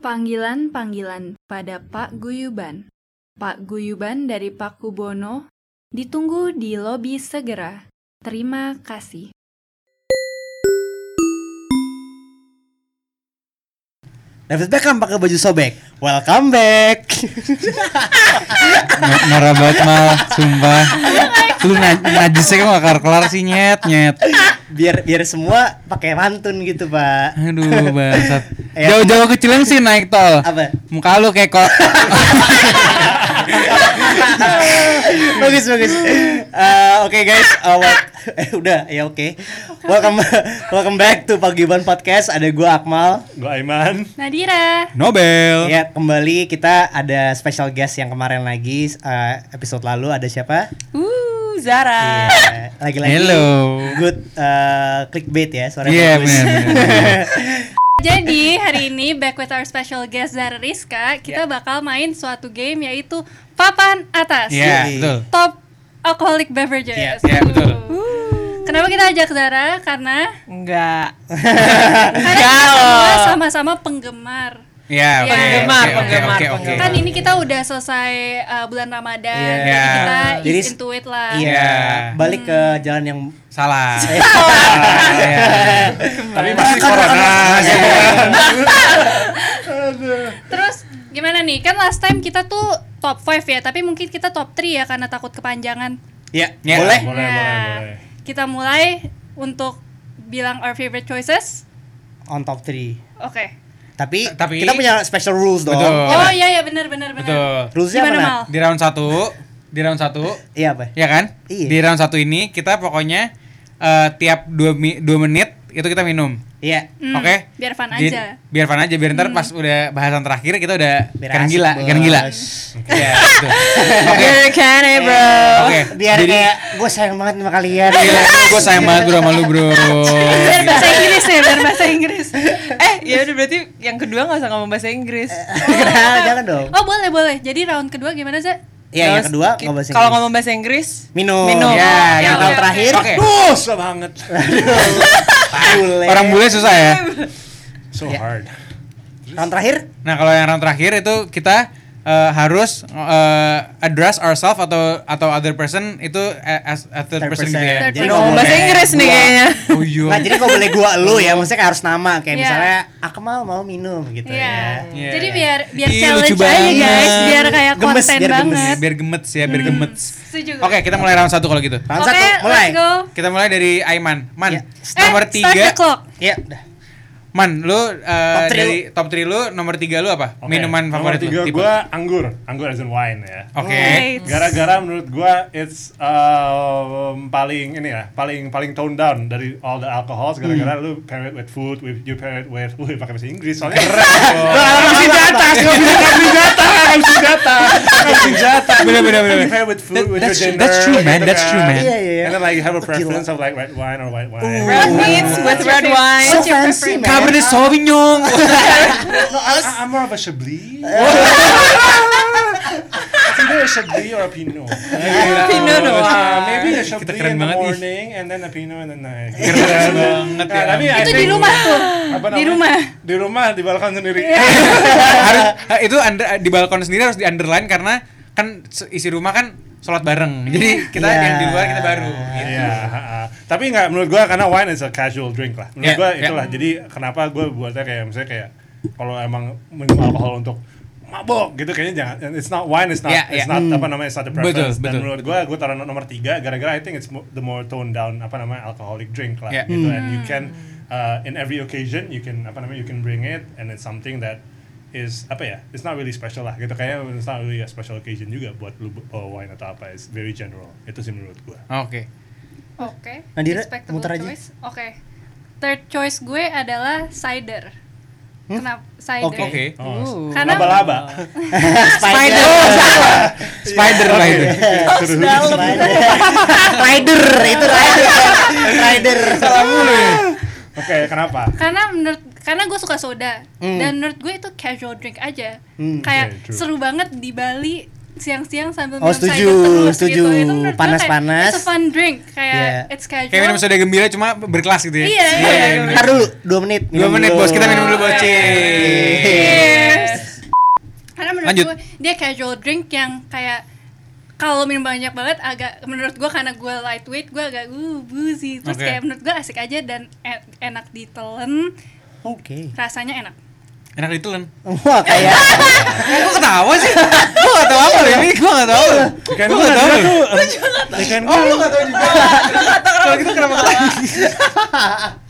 Panggilan-panggilan pada Pak Guyuban. Pak Guyuban dari Pak Kubono ditunggu di lobi segera. Terima kasih. David Beckham pakai baju sobek. Welcome back. Nor- Norak Nah, banget mah, sumpah Lu na- najisnya kok gak kelar sih nyet nyet biar biar semua pakai pantun gitu, Pak. Aduh bangsat Eh, Jauh-jauh ke Cilengsi naik tol Apa? Muka lu kayak kok bagus bagus. Eh, oke guys, eh, wel- eh, udah ya oke. Welcome welcome back to Pagiban Podcast. Ada gua Akmal. Gue Aiman Nadira. Nobel Ya, kembali kita ada special guest yang kemarin lagi eh, episode lalu ada siapa? Uh, Zara. Iya, Lagi-lagi Ah. Hello. Good eh, clickbait ya suara Iya bagus. bener bener. Jadi hari ini back with our special guest Zara Rizka, kita bakal main suatu game yaitu papan atas. Iya betul Top alcoholic beverages. Iya. Iya betul Uh, Kenapa kita ajak Zara? Karena Enggak. karena kita semua sama-sama penggemar. Iya Iya. oke oke, oke, Penggemar, penggemar, oke, oke. penggemar. Kan ini kita udah selesai uh, bulan Ramadan, Iya. jadi kita Jadi ease s- into it lah. Iya, balik ke jalan yang Salah Iya. Nah. Tapi masih corona Iya. Terus gimana nih? Kan last time kita tuh top 5 ya, tapi mungkin kita top 3 ya karena takut kepanjangan. ya, Ya. boleh. Boleh, boleh, Nah, boleh. Kita mulai untuk bilang our favorite choices. on top 3 Oke. tapi, Tapi- kita punya special rules dong Betul. Oh iya iya benar benar benar. Betul rulesnya apa Gimana, Nat? Mal? Di round 1 Di round 1 iya apa ya kan? Iya. Di round satu ini kita pokoknya eh, tiap dua, mi- dua menit itu kita minum, iya Hmm, oke? Biar fun Jadi- aja. Hmm. Biar fun aja, biar ntar pas udah bahasan terakhir kita udah Biar kan asik, gila, kan bos. gila. Iya, gitu. Eh. Oke, Can I, bro? oke. biar Jadi- Iya. kayak gue sayang banget sama kalian gue sayang banget bro sama lu bro. Ya, Biar bahasa Inggris ya, biar bahasa Inggris. Eh, ya udah berarti yang kedua nggak usah ngomong bahasa Inggris. Eh. Kenapa? jangan dong Oh boleh boleh. Jadi round kedua gimana sih? iya yang Terus kedua ki- nggak bahasa Kalau Inggris. ngomong bahasa Inggris, minum Minum. ya Oh, yang oke, tahun oke. terakhir Oke, Duh, susah banget bule. orang bule susah ya. So hard tahun terakhir Nah kalau yang round terakhir itu kita eh, harus eh, address ourselves atau atau other person itu as, as third, person gitu ya. jadi Third person. nggak ngomong boleh bahasa Inggris nih gua- kayaknya. Oh iya. Nggak, jadi nggak boleh gua lu ya maksudnya kayak harus nama kayak Iya. misalnya Akmal mau minum gitu Iya. ya Iya. Jadi biar biar Ih, challenge lucu aja guys, banget. biar kayak Gemes, konten biar gemes. banget. biar gemets ya, biar gemets. Hmm, Setuju. Oke, kita mulai round satu kalau gitu. tahun Oke, satu mulai let's go. Kita mulai dari Aiman. Man, Ya. Eh, nomor Start the 3. clock. iya udah Man, lu uh, three dari top 3 lu nomor 3 lu apa? Oke, Minuman nomor favorit tiga lu. Oh. tipe. gue anggur Anggur as in wine ya Oke. Right. Gara-gara menurut gue it's um, paling ini ya paling paling tone down dari all the alcohols gara-gara Hmm. lu pair it with food with you pair it with wih pakai bahasa Inggris soalnya keren Masih di atas gua bilang. Bener bener bener. pair with food with That's- your dinner that's true, man. gitu That's true, kan. man. Iya, iya, iya. and then like you have a Gila. preference of like red wine or white wine Red meats with red so wine. your fancy preference? man Cabernet Sauvignon. I- Ah, I'm more of a Chablis. It's either a Chablis or a Pinot. Pinot Noir. Uh, maybe a Kita Chablis keren in the banget nih. morning and then a Pinot in the night. Keren banget Nah, tapi ya. I Itu think- di rumah tuh. Apa Di namanya? rumah. Di rumah di balkon sendiri. harus eh, itu under, di balkon sendiri harus di underline karena kan se- isi rumah kan sholat bareng. Jadi kita Iya. yang di luar kita baru. gitu. Iya, ha-ha. tapi nggak menurut gua karena wine is a casual drink lah. Menurut Yeah, gua yeah. itulah. Jadi kenapa gua buatnya kayak misalnya kayak kalau emang minum alkohol untuk mabok gitu kayaknya jangan and it's not wine it's not Yeah, yeah. it's not apa namanya it's not the Iya, Hmm. Betul, preference dan betul. menurut gua gua taruh no- nomor tiga gara-gara I think it's mo- the more toned down apa namanya alcoholic drink lah Yeah. gitu and you can uh, in every occasion you can apa namanya you can bring it and it's something that is apa ya it's not really special lah gitu kayaknya it's not really a special occasion juga buat lu uh, wine atau apa it's very general itu sih menurut gua Oke. Oke. Nadira, respectable muter aja. choice. Oke. Third choice gue adalah cider. Kenapa cider? Oke. Oke. Oh, Karena- laba-laba. spider Oh, Iya. Spider lah itu. Spider. rider itu rider rider Oke, kenapa? Karena menurut karena gue suka soda Hmm. dan menurut gue itu casual drink aja. Kayak Oke, true. seru banget di Bali siang-siang sambil Oh, minum cider setuju, terus setuju. gitu. Itu menurut gue Panas-panas. Kayak, it's a fun drink kayak Yeah. it's casual. Kayak minum soda gembira cuma berkelas gitu ya. Iya, iya, Iya, iya. iya. Ntar dulu, 2 menit Dua minum menit dulu. bos, kita minum dulu Oke. bocil. Iya. Lanjut. gue dia casual drink yang kayak kalau minum banyak banget agak menurut gue karena gue lightweight gue agak uh boozy terus Oke. kayak menurut gue asik aja dan en- enak ditelen Oke. rasanya enak Enak ditelan. Wah kayak Eh, kok ketawa sih? Gua gak tau apa loh ini, gua gak tau loh Bukan Gua ya. Iya. gua gak tau nggak loh Ikan Oh, lu gak tau juga Kalau gitu kenapa ketawa?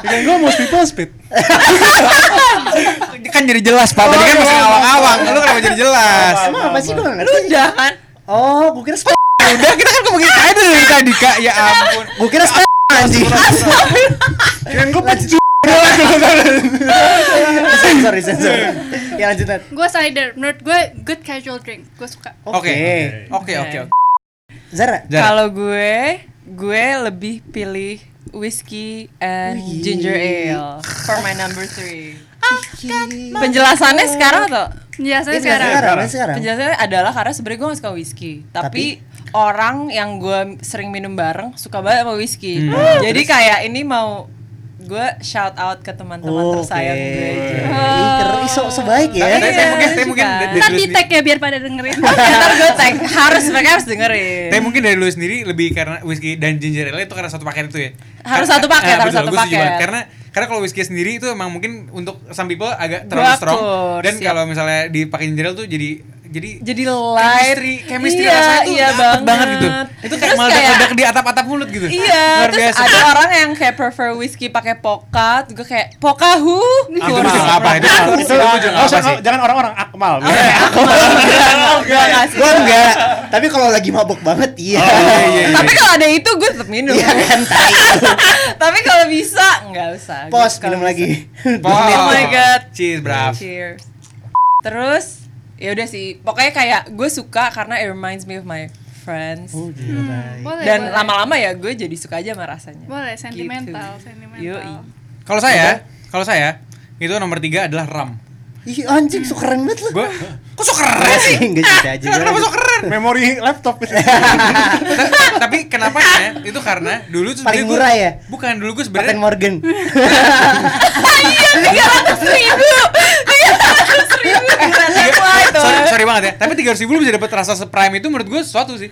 ikan gua most people spit. Kan jadi jelas, Pak Tadi kan masih ngawang-ngawang Lu kenapa jadi jelas? emang apa sih gue nggak Lu ngerti. udah kan? Oh, gue kira sp- Udah, kita kan ngomongin saya dari tadi, Kak Ya ampun gue kira sp- anjing. Ikan gua pecu. Sensor, sensor. Ya lanjut Nat. gue cider menurut gue good casual drink gue suka Oke, Oke. oke, oke oke. Zara. Zara. Kalau gue, gue lebih pilih whiskey and Wih. ginger ale for my number three. Penjelasannya sekarang atau? biasanya Ini sekarang sekarang. ini sekarang. Penjelasannya adalah karena sebenarnya gue gak suka whiskey, tapi, orang yang gue sering minum bareng suka banget sama whiskey. Hmm. Jadi kayak ini mau gue shout out ke teman-teman Oh, tersayang gue. Oke. aja. Ih, keren. Ih, so- so baik ya. Tapi saya mungkin, saya mungkin suka. dari ntar dulu di sendiri- tag ya biar pada dengerin Ntar gue tag harus mereka harus dengerin. Tapi mungkin dari lu sendiri lebih karena whiskey dan ginger ale itu karena satu paket itu ya. Harus Karena- satu paket, Ah, harus betul, satu gua setuju paket. banget. Karena karena kalau whiskey sendiri itu emang mungkin untuk some people agak Gua terlalu strong akur, dan siap. kalau misalnya dipakai ginger ale tuh jadi jadi jadi light chemistry chemistry iya, rasanya tuh iya dapet banget. gitu. Itu kayak Terus meledak-ledak di atap-atap mulut gitu. Iya, Luar terus biasa. ada orang yang kayak prefer whiskey pakai poka, gue kayak poka hu. Ah, itu jujur apa itu? Itu jujur Nah, apa sih? Oh, Oh, iya. jangan- jangan orang-orang akmal. Gua ngasih. Gue enggak. Tapi kalau lagi mabok banget, iya. Iya, iya, iya. Tapi kan kalau ada itu gue tetap minum. Iya kan, tai. Tapi kalau bisa nggak usah. Gua Pos kalau minum bisa. lagi. Oh my God. Cheers, brav. Cheers. Terus ya udah sih, pokoknya kayak gue suka karena it reminds me of my friends. Oh, gila, tai. boleh, Dan boleh. lama-lama ya gue jadi suka aja sama rasanya. boleh Gitu. sentimental Yoi. sentimental Kalau saya, kalau saya itu nomor tiga adalah ram. Ih, anjing, so keren banget lu. Iya Gue kok so keren sih? Enggak bisa aja. Kenapa so keren? Memori laptop itu. Ta- tapi kenapa ya? Itu karena dulu tuh Paling sebenarnya gua- murah ya? Bukan dulu gue sebenarnya Captain Morgan. Iya, Iya, sorry, sorry banget ya. Tapi 300 ribu lu bisa dapat rasa seprime itu menurut gue sesuatu sih.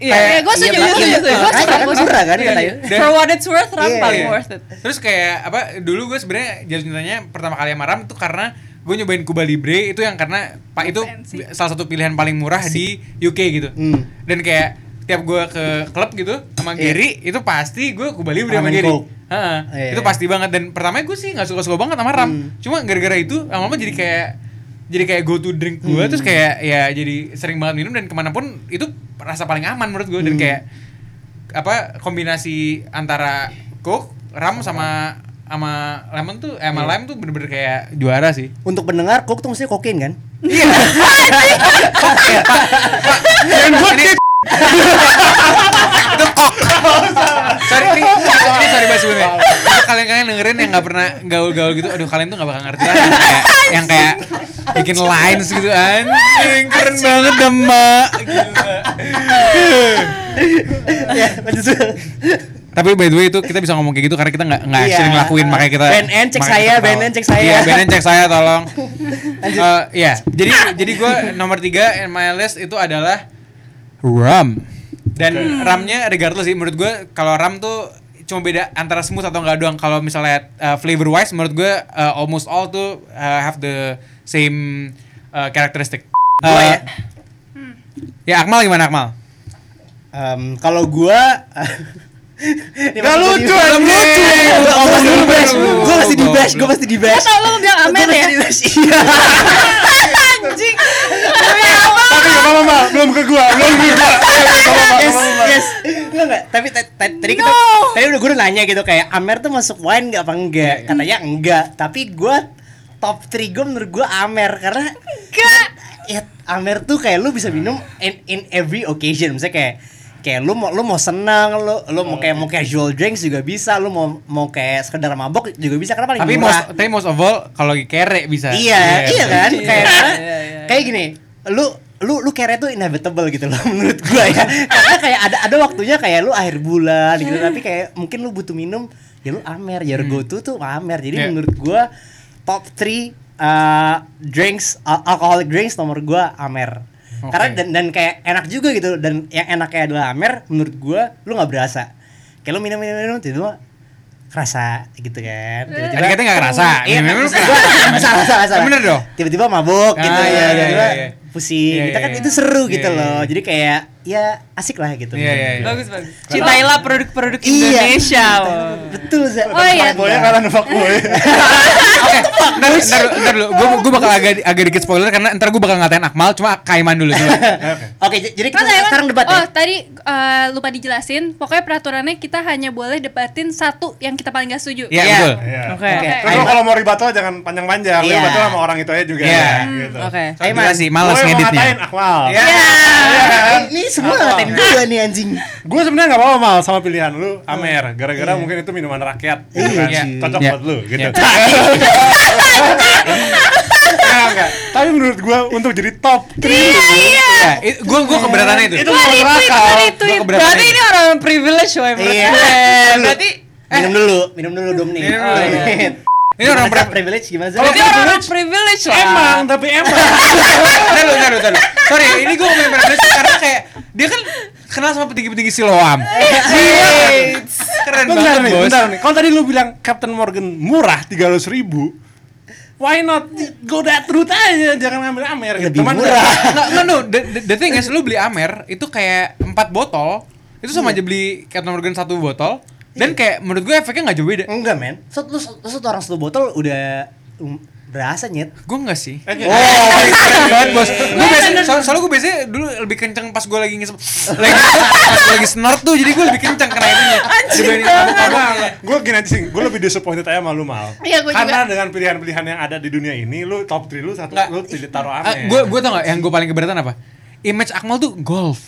Iya, Eh, gua iya, setuju, gua iya, setuju. iya. Gua Makanya kan murah kan Iya, kata iya. Dan- For what it's worth, Ram Iya. paling Iya. worth it. Terus kayak apa? Dulu gue sebenarnya jatuh cintanya pertama kali sama Ram tuh karena gue nyobain Cuba Libre itu yang karena pak itu Apaan sih? salah satu pilihan paling murah di UK gitu. Hmm. Dan kayak tiap gue ke klub gitu sama Iya. Gary itu pasti gue Cuba Libre Ramen sama Gary. Coke. Heeh. Iya. Itu pasti banget dan pertama gue sih nggak suka-suka banget sama Ram. Cuma gara-gara itu lama-lama jadi kayak jadi kayak go to drink gue terus kayak ya jadi sering banget minum dan kemanapun itu rasa paling aman menurut gue dan kayak apa kombinasi antara coke ram sama sama lemon tuh eh, sama lime tuh bener-bener kayak juara sih Untuk pendengar, kok tuh maksudnya kokain kan? Iya. dan ini itu kok sorry ini, ini sorry banget sebelumnya Kalau kalian kalian dengerin yang nggak pernah gaul-gaul gitu aduh kalian tuh nggak bakal ngerti lah yang kayak, yang kayak bikin lines gitu anjing keren banget dah mak Ya, lanjut. tapi by the way itu kita bisa ngomong kayak gitu karena kita nggak nggak Iya. actually ngelakuin makanya kita BNN cek makanya saya, kita ketawa. BNN cek saya. iya BNN cek saya tolong Eh, iya jadi jadi gue nomor tiga in my list itu adalah rum dan Hmm. ramnya regardless sih menurut gue kalau ram tuh cuma beda antara smooth atau enggak doang kalau misalnya eh, flavor wise menurut gue eh, almost all tuh eh, have the same eh, characteristic Gua ya. Eh, ya Akmal gimana Akmal Em, kalau gua Ini Gak maksud gua lucu, di- anjing. Gua gua pasti di bash, gua pasti Lu di bash, gua goblok. pasti di bash. kalau lo bilang amin Gua ya pasti di bash, Iya. Anjing. Tapi enggak apa-apa, belum ke Oh, gua, belum ke gua. Yes, yes. Enggak enggak, tapi ta- ta- tadi kita tadi udah gua udah nanya gitu kayak Amer tuh masuk wine enggak apa enggak? Katanya enggak, tapi gua top 3 gua menurut gua Amer karena enggak ya Amer tuh kayak lu bisa minum in, in every occasion. Misalnya kayak kayak lu mau lu mau senang lu lu Oh. mau kayak mau casual drinks juga bisa lu mau mau kayak sekedar mabok juga bisa karena paling tapi murah. most tapi most of all kalau lagi kere bisa Iya, iya kan? Iya, Kayak iya, iya, iya. kayak gini, lu lu lu kere tuh inevitable gitu loh menurut gua ya. Karena kayak ada ada waktunya kayak lu akhir bulan gitu Iya. tapi kayak mungkin lu butuh minum ya lu amer, ya go to tuh amer. Jadi Hmm. Iya. menurut gua top 3 eh, drinks al- alcoholic drinks nomor gua Amer. Oke. Karena dan dan kayak enak juga gitu dan yang enaknya adalah Amer menurut gua lu nggak berasa. Kayak lu minum minum minum tiba-tiba kerasa gitu kan. Tiba-tiba Eh, Tadi katanya nggak kerasa. Iya, Minum- minum maksud kerasa. gua- salah salah salah. Eh, Bener dong. Tiba-tiba mabuk Ah, gitu iya, ya, iya, tiba-tiba iya, iya. pusing. Iya, Kita kan iya, itu iya. seru Iya, gitu iya, loh. iya. Jadi kayak ya asik lah gitu. Iya, iya, iya. Bagus bagus. Cintailah produk-produk Indonesia. wow. Betul, Zak. Oh, iya. Fuckboy-nya kalah nembak boy. Oke, ntar, ntar, ntar dulu. Gue gue bakal agak agak dikit spoiler karena ntar gue bakal ngatain Akmal, cuma Kaiman dulu. dulu. Oke, j- jadi kita Terus saya- sekarang debat Oh ya. tadi eh, lupa dijelasin Pokoknya peraturannya kita hanya boleh debatin satu yang kita paling gak setuju Iya Iya. betul. Iya. Oke. Oke. Terus lo kalau mau ribet lo jangan panjang-panjang, Iya. yeah. ribet lo sama orang itu aja juga. Iya. Gitu. Oke. Soalnya Kaiman. gila sih, malas Gue mau ngatain ngeditnya. Akmal. Iya. Eh, Ini semua ngatain gue nih anjing. Gue sebenarnya nggak apa-apa mal sama pilihan lu Amer, gara-gara mungkin itu minuman rakyat, gitu kan. Oh. Iya. cocok Iya. buat lu, gitu. Iya. Enggak, enggak. Tapi menurut gue untuk jadi top three, Iya, gue gue keberatannya itu. itu Gua mau retweet, neraka. gua Gua retweet keberatan Berarti itu. ini orang privilege woy menurut Iya. gue. Perlu. Berarti Minum dulu, minum dulu dong nih. Minum dulu. Ini Gimana, orang Zak? berapa? privilege gimana? Zak? Kalau berarti orang privilege Iya. lah. Emang, tapi emang. Ntar dulu, ntar dulu, ntar dulu. Sorry, ini gue ngomongin privilege karena kayak dia kan kenal sama petinggi-petinggi siloam. Keren Bentar banget nih, bos. bentar nih. Kalau tadi lu bilang Captain Morgan murah 300 ribu, why not go that route aja, jangan ngambil Amer. Lebih gitu. Cuman- murah. Nggak, nggak, no. The, the- the thing is, lu beli Amer itu kayak 4 botol, itu sama aja beli Captain Morgan satu botol. Dan kayak menurut gue efeknya nggak jauh beda. Enggak, men. Satu lu satu satu orang satu botol udah um, berasa nyet. Gue nggak sih. Eh. Oh, Keren banget bos. Gue biasanya, soal, soalnya gue biasanya dulu lebih kenceng pas gue lagi ngisep, lagi pas gua lagi snort tuh, jadi gue lebih kenceng kena itunya. Dibanding mabuk-mabuknya. gue gini aja sih, gue lebih disappointed aja sama lu mal Iya, gua Karena dengan pilihan-pilihan yang ada di dunia ini, lu top 3 lu satu, Nggak. lu pilih taruh Ah, Amer Gue gue tau gak yang gue paling keberatan apa? Image Akmal tuh golf.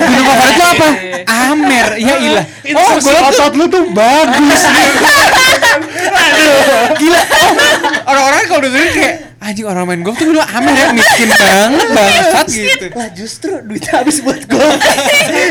Gunung favorit itu apa? Amer. Ya ilah. Oh, Instruksi golf tuh otot lu tuh bagus gila. Oh, orang-orang kalau dengerin kayak anjing orang main golf tuh bilang Amer ya miskin banget bangsat gitu. lah justru duitnya habis buat gue.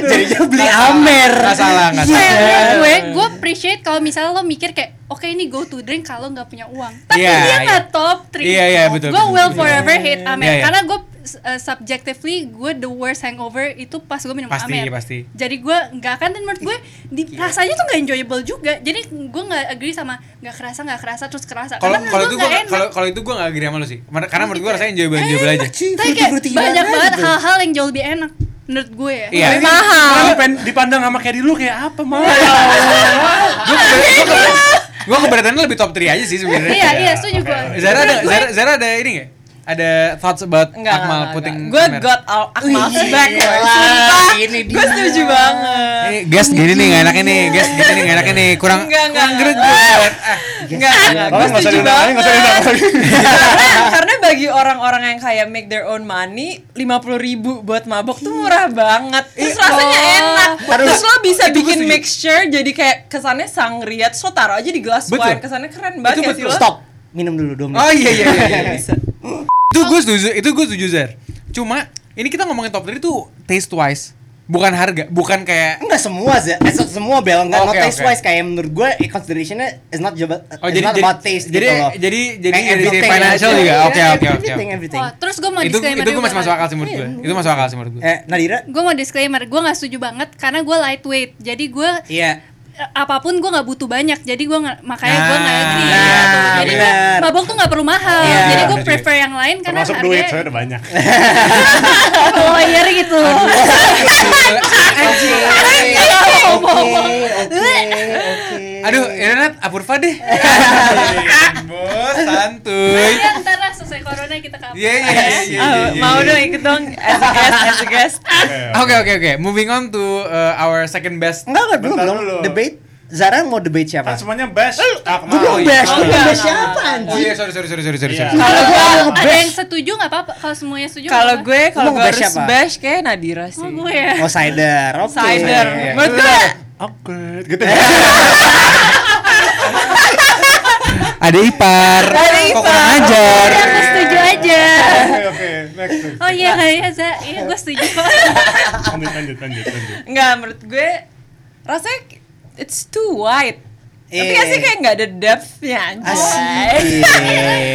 Jadinya beli Amer. Nggak salah, nggak salah. Sayangnya Iya, gue, gitu. gue appreciate kalau misalnya lo mikir kayak oke ini go to drink kalau nggak punya uang. Tapi Iya, dia iya. nggak top 3. Iya, iya, betul, Gue betul, will betul. forever hate Amer Iya, iya. karena gue uh, subjectively gue the worst hangover itu pas gue minum Pasti, Amer. pasti. Iya. Jadi gue nggak akan dan menurut gue di, rasanya tuh nggak enjoyable juga. Jadi gue nggak agree sama nggak kerasa nggak kerasa terus kerasa. Kalau Karena menurut kalau gue itu gue nggak enak. kalau kalau itu gue nggak agree sama lu sih. Mar- Karena menurut gue rasanya enjoyable enjoyable aja. Tapi kayak fruity-fruity banyak gimana banget gitu. hal-hal yang jauh lebih enak menurut gue ya. Iya. Mahal Dipandang sama kayak di lu kayak apa mal Gue keberatan gue keberatannya lebih top 3 aja sih sebenarnya. Iya, iya, setuju gue. Zara ada Zara, Zara ada ini nggak? Ada thoughts about Enggak, Akmal puting Gue got all Akmal back woy. Ah, Sumpah. Gue setuju banget. Ini guys Eh, gini nih gak enaknya nih, guys gini nih gak enaknya nih, kurang Enggak, enggak, kurang gerut, enggak. gerut. Ah, Enggak, enggak. Gue Kalau nggak usah setuju diundang lagi, nggak usah diundang banget. lagi karena, karena bagi orang-orang yang kayak make their own money, 50 ribu buat mabok tuh murah banget. Terus rasanya enak. Terus lo bisa bikin mixture jadi kayak kesannya sangria. Terus lo taruh aja di gelas Betul. wine. Kesannya keren Itu banget ya sih betul. lo. Stop. Minum dulu dong. Oh iya iya iya. iya. itu gue setuju, itu gue setuju Zer. Cuma ini kita ngomongin top 3 tuh taste wise, bukan harga, bukan kayak Enggak semua sih, eh, semua bel enggak not Oke, taste oke. wise kayak menurut gue eh, considerationnya is not about Oh, it's jadi- not jadi- about taste jadi- gitu loh. jadi- jadi Kayak dari everything financial aja. juga. Iya, Oke, oke, oke, Everything oke. everything. Wah, terus gue mau itu disclaimer itu gue dulu masih masuk kan. akal sih menurut gue. Itu masuk akal sih menurut gue. Eh Nadira? gue mau disclaimer gue nggak setuju banget karena gue lightweight jadi gue Iya. eh, apapun gue nggak butuh banyak jadi gue nggak- makanya gue nggak Nah, agree nah, gitu. jadi gue bener. mabok tuh nggak perlu mahal Iya. jadi gue prefer yang lain karena Termasuk duit, saya udah banyak lawyer gitu Oke, oke, oke. Aduh, internet apurva deh. Bos, santuy. ya ntar lah selesai corona kita kapan Iya iya iya, iya. Ah, iya, iya. mau dong ikut dong as a guest, as a guest. Iya. Oke oke oke, moving on to uh, our second best. Enggak enggak belum Bentar belum dulu. debate. Zara mau debate siapa? Kan semuanya best Akmal Belum best, iya. belum Enggak, best enggak, siapa Oh anjing? iya, sorry sorry sorry sorry sorry. Iya. sorry. Kalau gue mau ada best. yang setuju nggak apa-apa kalau semuanya Iya. setuju Kalau nggak gue, Lu kalau mau gue bahas harus siapa? bash kayak Nadira apa-apa. Oh, sih. gue ya Oh cider, oke. Iya. Cider. Iya, Menurut gue, Awkward gitu Ada ipar. Ada Kok ipar. kurang ajar. Iya. Udah, gue setuju aja Oke, oke, next next. oh iya iya za iya gue setuju kok Lanjut, lanjut, lanjut, lanjut Enggak, menurut gue rasanya it's too wide. Iya, Tapi Iya. asli kayak nggak ada depthnya anjay. Asik.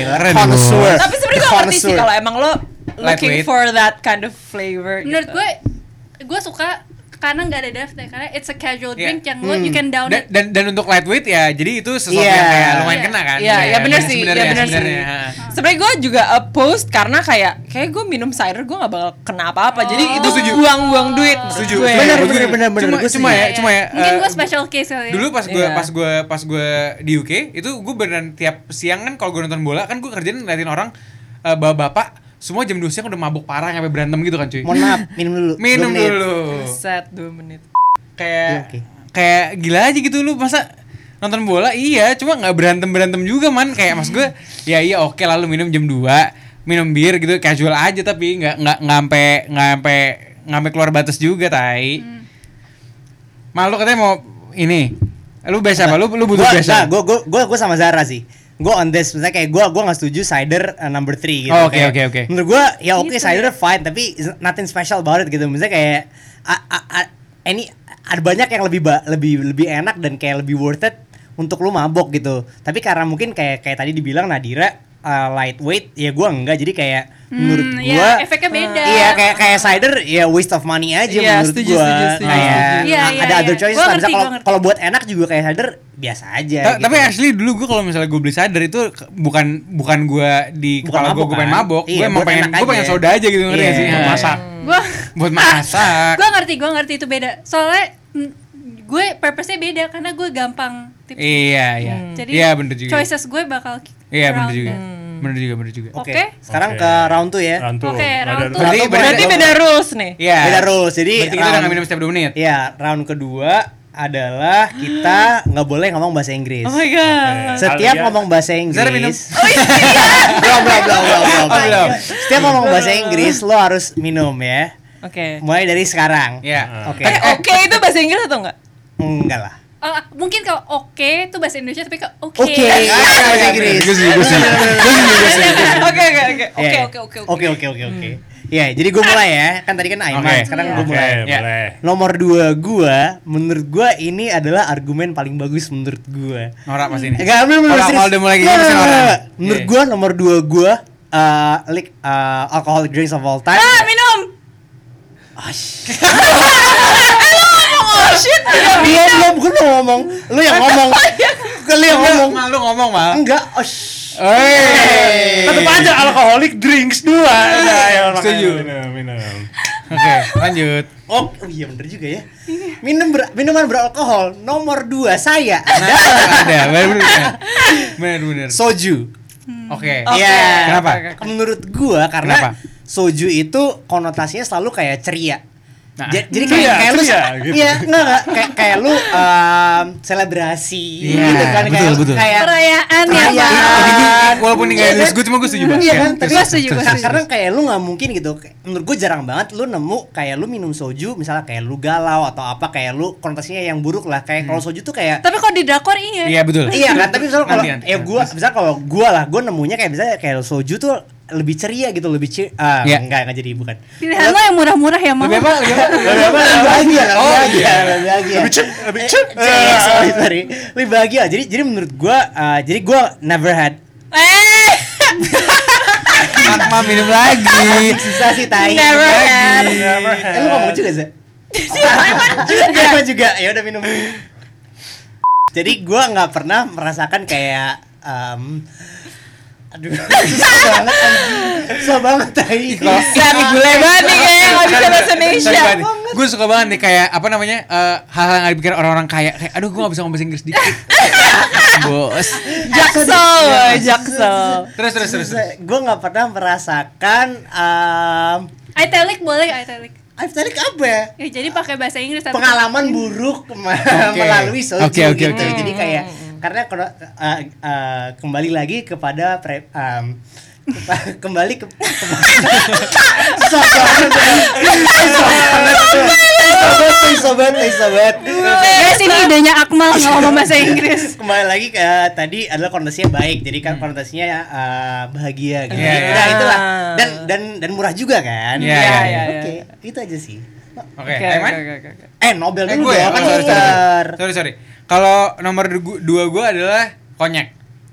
Keren Connoisseur. Tapi sebenarnya gue ngerti sih Connoisseur. kalau emang lo looking Lightweight. for that kind of flavor. Menurut gitu. gue, gue suka karena nggak ada depth ya, karena it's a casual Iya. drink yang lo you can down dan, it. dan dan untuk lightweight ya jadi itu sesuatu Iya. yang kayak lumayan Iya. kena kan Iya, ya benar sih, ya sebenarnya benar sih. sebenarnya, ha. Sebenarnya gue juga opposed karena kayak kayak gue minum cider gue nggak bakal kena apa-apa. Jadi Oh. itu Setuju. buang-buang duit. menurut setuju gue. Benar, benar, benar, benar. cuma, Gua cuma setuju. ya cuma ya Iya, Mungkin eh, gue special case kali. ya. dulu pas gue Iya. pas gue pas gue di UK itu gue beneran tiap siang kan kalau gue nonton bola kan gue kerjain ngeliatin orang eh, bapak-bapak semua jam 2 siang udah mabuk parah sampai berantem gitu kan cuy Mohon maaf, minum dulu. minum Dua menit. dulu Set 2 menit. kayak Iya, oke. kayak gila aja gitu lu masa nonton bola iya cuma nggak berantem berantem juga man kayak mas gue ya iya oke lalu minum jam 2 minum bir gitu casual aja tapi nggak nggak nggak sampai nggak sampai nggak sampai keluar batas juga tai malu katanya mau ini lu biasa apa lu lu butuh gua, biasa gue gue gue gue sama Zara sih gue on this misalnya kayak gue gue nggak setuju cider uh, number three gitu Oh, oke, Kayak, oke, oke. menurut gue ya oke Gitu cider fine tapi it's nothing special about it gitu misalnya kayak a- a- a- ini ada banyak yang lebih ba- lebih lebih enak dan kayak lebih worth it untuk lu mabok gitu tapi karena mungkin kayak kayak tadi dibilang Nadira uh, lightweight ya gue enggak jadi kayak menurut Hmm, gue ya, efeknya beda. Iya kayak kayak cider ya waste of money aja Iya, menurut setuju, gua. setuju, setuju, Kayak setuju. Iya, a- iya, ada other iya. choice Gua lah. Misalnya ngerti, kalau gua ngerti. kalau buat enak juga kayak cider biasa aja. Ta- gitu. Tapi asli dulu gue kalau misalnya gue beli cider itu ke- bukan bukan gue di Bukan kepala gue mabok, gue pengen kan? mabok, Iya, gue emang buat pengen enak gue pengen aja. soda aja gitu ngerti nggak Iya. sih? Buat Ha. masak. Gue buat masak. gue Ah, ngerti, gue ngerti itu beda. Soalnya mm, gue purpose-nya beda karena gue gampang tips. Iya iya. Hmm. Hmm. Jadi Iya bener juga. choices gue bakal Iya bener around juga. that. Bener juga bener juga. Oke, Oke. sekarang Oke. ke round 2 ya. Round two. Oke, Ada- round two. Berarti- Berarti beda rules nih. Iya. Beda rules. Jadi Berarti kita udah nggak minum setiap 2 menit. Iya, round kedua adalah kita nggak boleh ngomong bahasa Inggris. Oh my god. Oke. Setiap Alia- ngomong bahasa Zara minum. Inggris. belum, belum, belum, belum, belum, Oh, belum. Setiap ngomong bahasa Inggris lo harus minum ya. Oke. Mulai dari sekarang. Iya. Oke. Eh oke itu bahasa Inggris atau enggak? Enggak lah. Oh, mungkin kalau oke itu bahasa Indonesia tapi kalau oke. Oke. iya, bahasa Inggris. Gue sih, gue sih. Oke oke oke. Oke Iya. oke oke Oke oke oke oke. Ya, jadi gue mulai ya. Kan tadi kan Aiman, Hmm. Oke. sekarang gue Oke, mulai. Ya. boleh. Nomor dua gua, menurut gua ini adalah argumen paling bagus menurut gua. Ya kan? Norak pasti ini. Enggak, belum belum Orang serius. kalau udah mulai kayak Nggak, gini, nggak, orang. nggak. Iya, Menurut Iya. gua nomor dua gua eh like eh, alcoholic drinks of all time. Ah, minum. Oh shit. Iya, belum gua belum ngomong. Lu yang ngomong. Lu yang ngomong. Mal, Lu ngomong mal. Enggak. oh, shh. Hey. Tetep aja alkoholik drinks dua. Iya, Nah, ya, makanya Setuju. Minum, minum. Oke, lanjut. Oh, oh iya bener juga ya. Iya. Minum ber- minuman beralkohol nomor dua saya adalah Ada, bener bener. Bener bener. soju. Oke. Iya. Kenapa? menurut gua Kenapa? karena soju itu konotasinya selalu kayak ceria. Nah. Ja- jadi kayak, Ceria, kayak lu ceria, gitu. Iya, enggak, enggak. kayak kayak lu um, selebrasi Iya, gitu kan betul, kayak betul. Iya. kayak Perayaan ya, Perayaan. Bang. Tapi Kan. gue, walaupun ini nggak Iya, lulus kan? gue cuma gue setuju Ya. banget. Iya kan? Tapi Gua setuju, gua Ka- setuju. karena kayak lu nggak mungkin gitu. Kayak- Menurut gue jarang banget lu nemu kayak lu minum soju misalnya kayak lu galau atau apa kayak lu konotasinya yang buruk lah. Kayak kalau soju tuh kayak Tapi kalau di drakor iya. Iya Hmm. betul. iya kan tapi misalnya kalau Nanti, nanti. ya gua misalnya kalau gua lah gua nemunya kayak misalnya kayak soju tuh lebih ceria gitu lebih cer ah Iya. enggak enggak jadi bukan Pilihan lo yang murah-murah ya, Mam. Lebih apa? Lebih apa? lebih apa lebih bahagia lebih Oh, bahagia lebih bahagia Lebih cep, lebih cep. Eh, eh, sorry sorry lebih bahagia jadi jadi menurut gua eh, jadi gua never had Eh. Mak, Mak, minum lagi. susah sih Iya, tai Never had. Lagi. Iya, eh, lu ngomong juga sih Emang juga ya udah minum jadi gua nggak pernah merasakan kayak em, aduh susah banget anjing. susah banget tai Tapi gule banget nih kayak nggak bisa bahasa Indonesia. Gue suka banget nih kayak apa namanya eh, hal-hal yang dipikir orang-orang kaya kayak aduh gue gak bisa ngomong bahasa Inggris dikit. Bos. Iya. Jaksel, jaksel. Terus terus terus. terus. gue nggak pernah merasakan em, Italic boleh nggak italic? I've tadi apa ya? Ya jadi pakai bahasa Inggris tapi pengalaman buruk me- melalui soju Oke, gitu. oke, oke. Jadi kayak karena kalau uh, uh, kembali lagi kepada pre, um, kepa- kembali ke susah banget sobat sobat sobat Guys, ini idenya Akmal nggak ngomong bahasa Inggris. Mm. kembali lagi ke tadi adalah konotasinya baik jadi kan konotasinya uh, bahagia gitu Iya, iya. nah itulah dan Ah. dan dan murah juga kan Iya, iya, oke iya, itu aja sih Oke, Aiman? oke, oke. eh Nobel Eh dulu gue ya. dong Oh, sorry, sorry, Mister. sorry. Sorry sorry. Kalau nomor du- dua gue adalah konyek.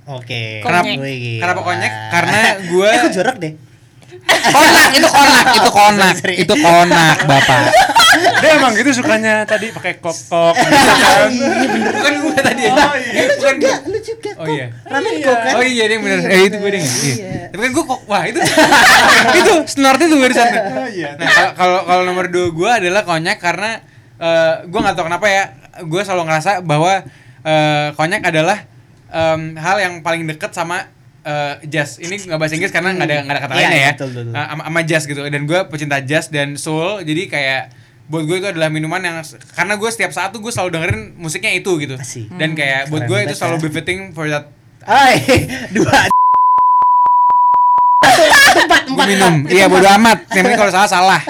Oke. Kenapa- Wih, kenapa gila. konyek? Karena gua- Eh, kok jorok deh. Konak, itu konak, itu konak, Sorry, sorry. itu konak, bapak. Dia emang gitu sukanya tadi pakai kok-kok. Bukan gue tadi. ya. Oh, iya. Lu Bukan juga, gua. lu juga. Oh kok. iya. Ramen kok kan? Oh iya dia yang bener. Eh itu gue dengar. Iya. Tapi kan gue kok wah itu itu snortnya tuh barusan. Oh, iya. Nah kalau- kalau kalau nomor dua gue adalah konyak karena eh gue nggak tahu kenapa ya gue selalu ngerasa bahwa eh, konyak adalah em, hal yang paling deket sama eh, jazz ini nggak bahasa Inggris karena nggak ada nggak ada kata Iya, lainnya ya betul, betul, betul. Eh, sama sama jazz gitu dan gue pecinta jazz dan soul jadi kayak buat gue itu adalah minuman yang karena gue setiap saat tuh gue selalu dengerin musiknya itu gitu Asik. dan kayak buat Keren gue banget itu selalu ya. befitting for that Hai, dua. Empat, Gua empat, minum. empat. Iya bodo amat. Yang penting kalau salah salah.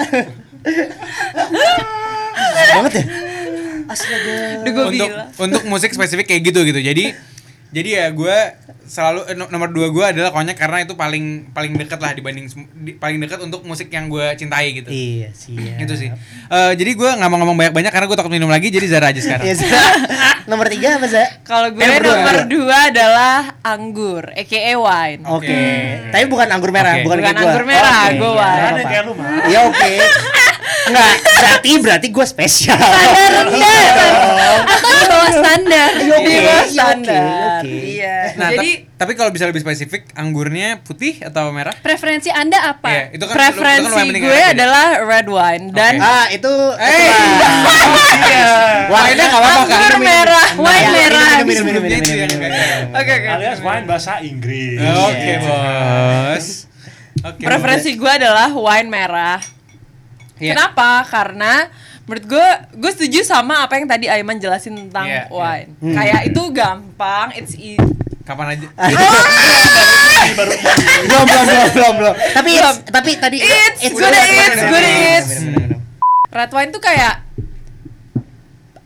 Parah banget ya. Astaga. Eh, Udah gue untuk bilang. untuk musik spesifik kayak gitu gitu. Jadi jadi ya gue selalu eh, no- nomor dua gue adalah konyak karena itu paling paling dekat lah dibanding sem- di- paling dekat untuk musik yang gue cintai gitu. Iya, siap. Gitu sih. Eh, jadi gue nggak mau ngomong banyak-banyak karena gue takut minum lagi. Jadi Zara aja sekarang. Iya, Za. Nomor tiga apa, Za? Kalau gue Eh, nomor dua. nomor dua adalah anggur, aka wine. Oh. Oke. Tapi bukan anggur merah, Oke. bukan, Bukan kayak gua. anggur merah, Oke, gua. iya, Ada nggak kayak apa-apa. lu mah. Iya, oke. Enggak, berarti berarti gue spesial. Atau di bawah standar. Iya, oke. Di iya, bawah oke, standar. oke. Iya. Nah, Jadi tap- tapi kalau bisa lebih spesifik, anggurnya putih atau merah? Preferensi Anda apa? Iya, itu kan itu preferensi kan yang gue penting. adalah red wine dan Oke. Ah, itu Eh. Wine-nya Iya. Iya. Wine-nya nggak apa-apa kan? anggur merah, wine Ya, Eh, merah. Minum, minum, minum, minum, Sebelumnya minum, itu yang minum, kayak- minum, minum. Oke oke. Alias main bahasa Inggris. Oke, Iya. Bos. Oke. Preferensi gue adalah wine merah. Iya. Kenapa? Karena menurut gue, gue setuju sama apa yang tadi Aiman jelasin tentang Iya, iya. wine. Hmm. Kayak itu gampang, it's e- Kapan aja? iya. belum belum belum belum belum tapi Belum. it's- tapi tadi It's udah, good, it's udah, udah, good, udah, it's. udah, udah, udah. red wine tuh kayak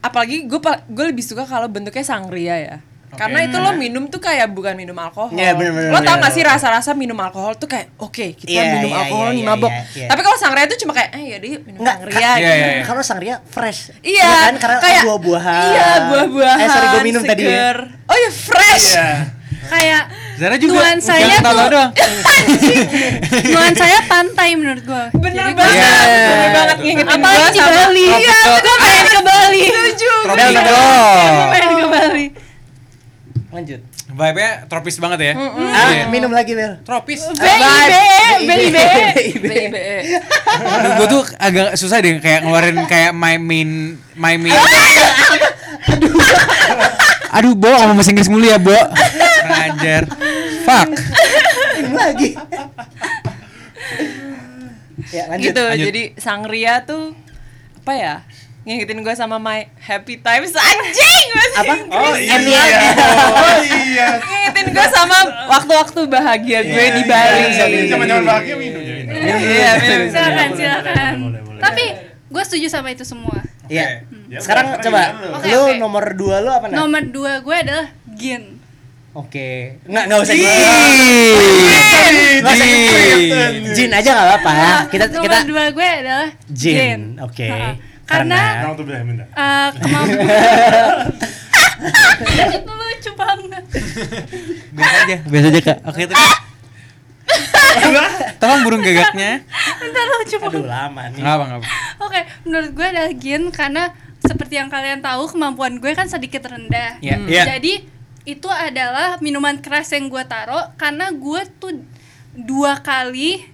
apalagi gue gue lebih suka kalau bentuknya sangria ya. Karena itu Hmm. lo minum tuh kayak bukan minum alkohol. Iya, bener, bener, lo tau bener. gak sih rasa-rasa minum alkohol tuh kayak oke kita Iya, minum iya, alkohol iya, nih iya, mabok. iya, iya. Tapi kalau sangria tuh cuma kayak eh yaudah yuk minum Nggak, sangria. Iya, gitu. iya, iya. kalau sangria fresh Iya, ya kan karena kayak- buah-buahan Iya, buah-buahan. eh sorry gue minum tadi ya. seger. Oh ya fresh. Iya. Kayak Zara juga. Tuan saya Jangan tahu-tahu tuh- doang. nuansa saya pantai menurut gue. Bener Jadi banget. Iya. Bener banget ngingetin Apalagi gue di sama Bali. Iya, gue pengen ke Bali. Setuju. Tropis bener. dong. Gue pengen ke Bali. lanjut Vibe-nya tropis banget ya. ah Iya. minum lagi Bel Tropis. Eh, BIB, BIB. BIB. BIB. Ah. Aduh, gue tuh agak susah deh kayak ngeluarin kayak my main my main. Aduh, Bo, sama bahasa Inggris mulu ya, Bo. Ngajar. Fuck. minum lagi ya lanjut gitu lanjut. jadi sangria tuh apa ya ngingetin gue sama my happy times anjing masih apa Oh iya. Oh iya. ngingetin gue sama waktu-waktu bahagia gue di iya, Bali Bisa minum zaman-zaman bahagia minum ya. minum. Iya, minum. Silakan, Boleh, silakan. boleh, boleh, boleh. Tapi gue setuju sama itu semua. ya Ya, sekarang coba sekarang giliran lu. Oke, lu oke. nomor dua lu apa nah Nomor dua gue adalah gin. oke nggak nggak usah gua. Nggak usah Ih. gua. Jin aja nggak apa-apa Ah, kita Nah, Nomor kita dua gue adalah Gin, gin. oke. Ha-ha. Karena- Karena Orang tuh bilang minta. eh, kemampuan itu lucu banget. Biasa aja, biasa aja, Kak. Oke, terus. Tolong burung gagaknya. Bentar lucu banget. aduh lama nih Enggak apa, enggak apa. Oke, menurut gue adalah gin karena seperti yang kalian tahu kemampuan gue kan sedikit rendah. Hmm. Iya, iya. Jadi itu adalah minuman keras yang gue taruh karena gue tuh dua kali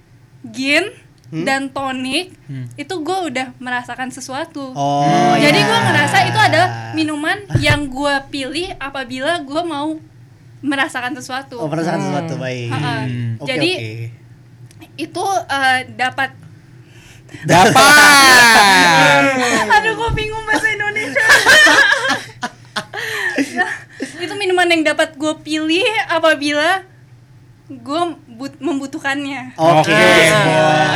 gin Hmm? dan tonik Hmm. itu gue udah merasakan sesuatu. oh Hmm. iya. Jadi ya. gue ngerasa itu adalah minuman yang gue pilih apabila gue mau merasakan sesuatu. Oh, perasaan sesuatu baik. Ha-ha. Hmm. Oke, Jadi, oke. Itu eh, dapat. Dapat. Aduh, gue bingung bahasa Indonesia. Nah, itu minuman yang dapat gue pilih apabila gue but- membutuhkannya. Oke.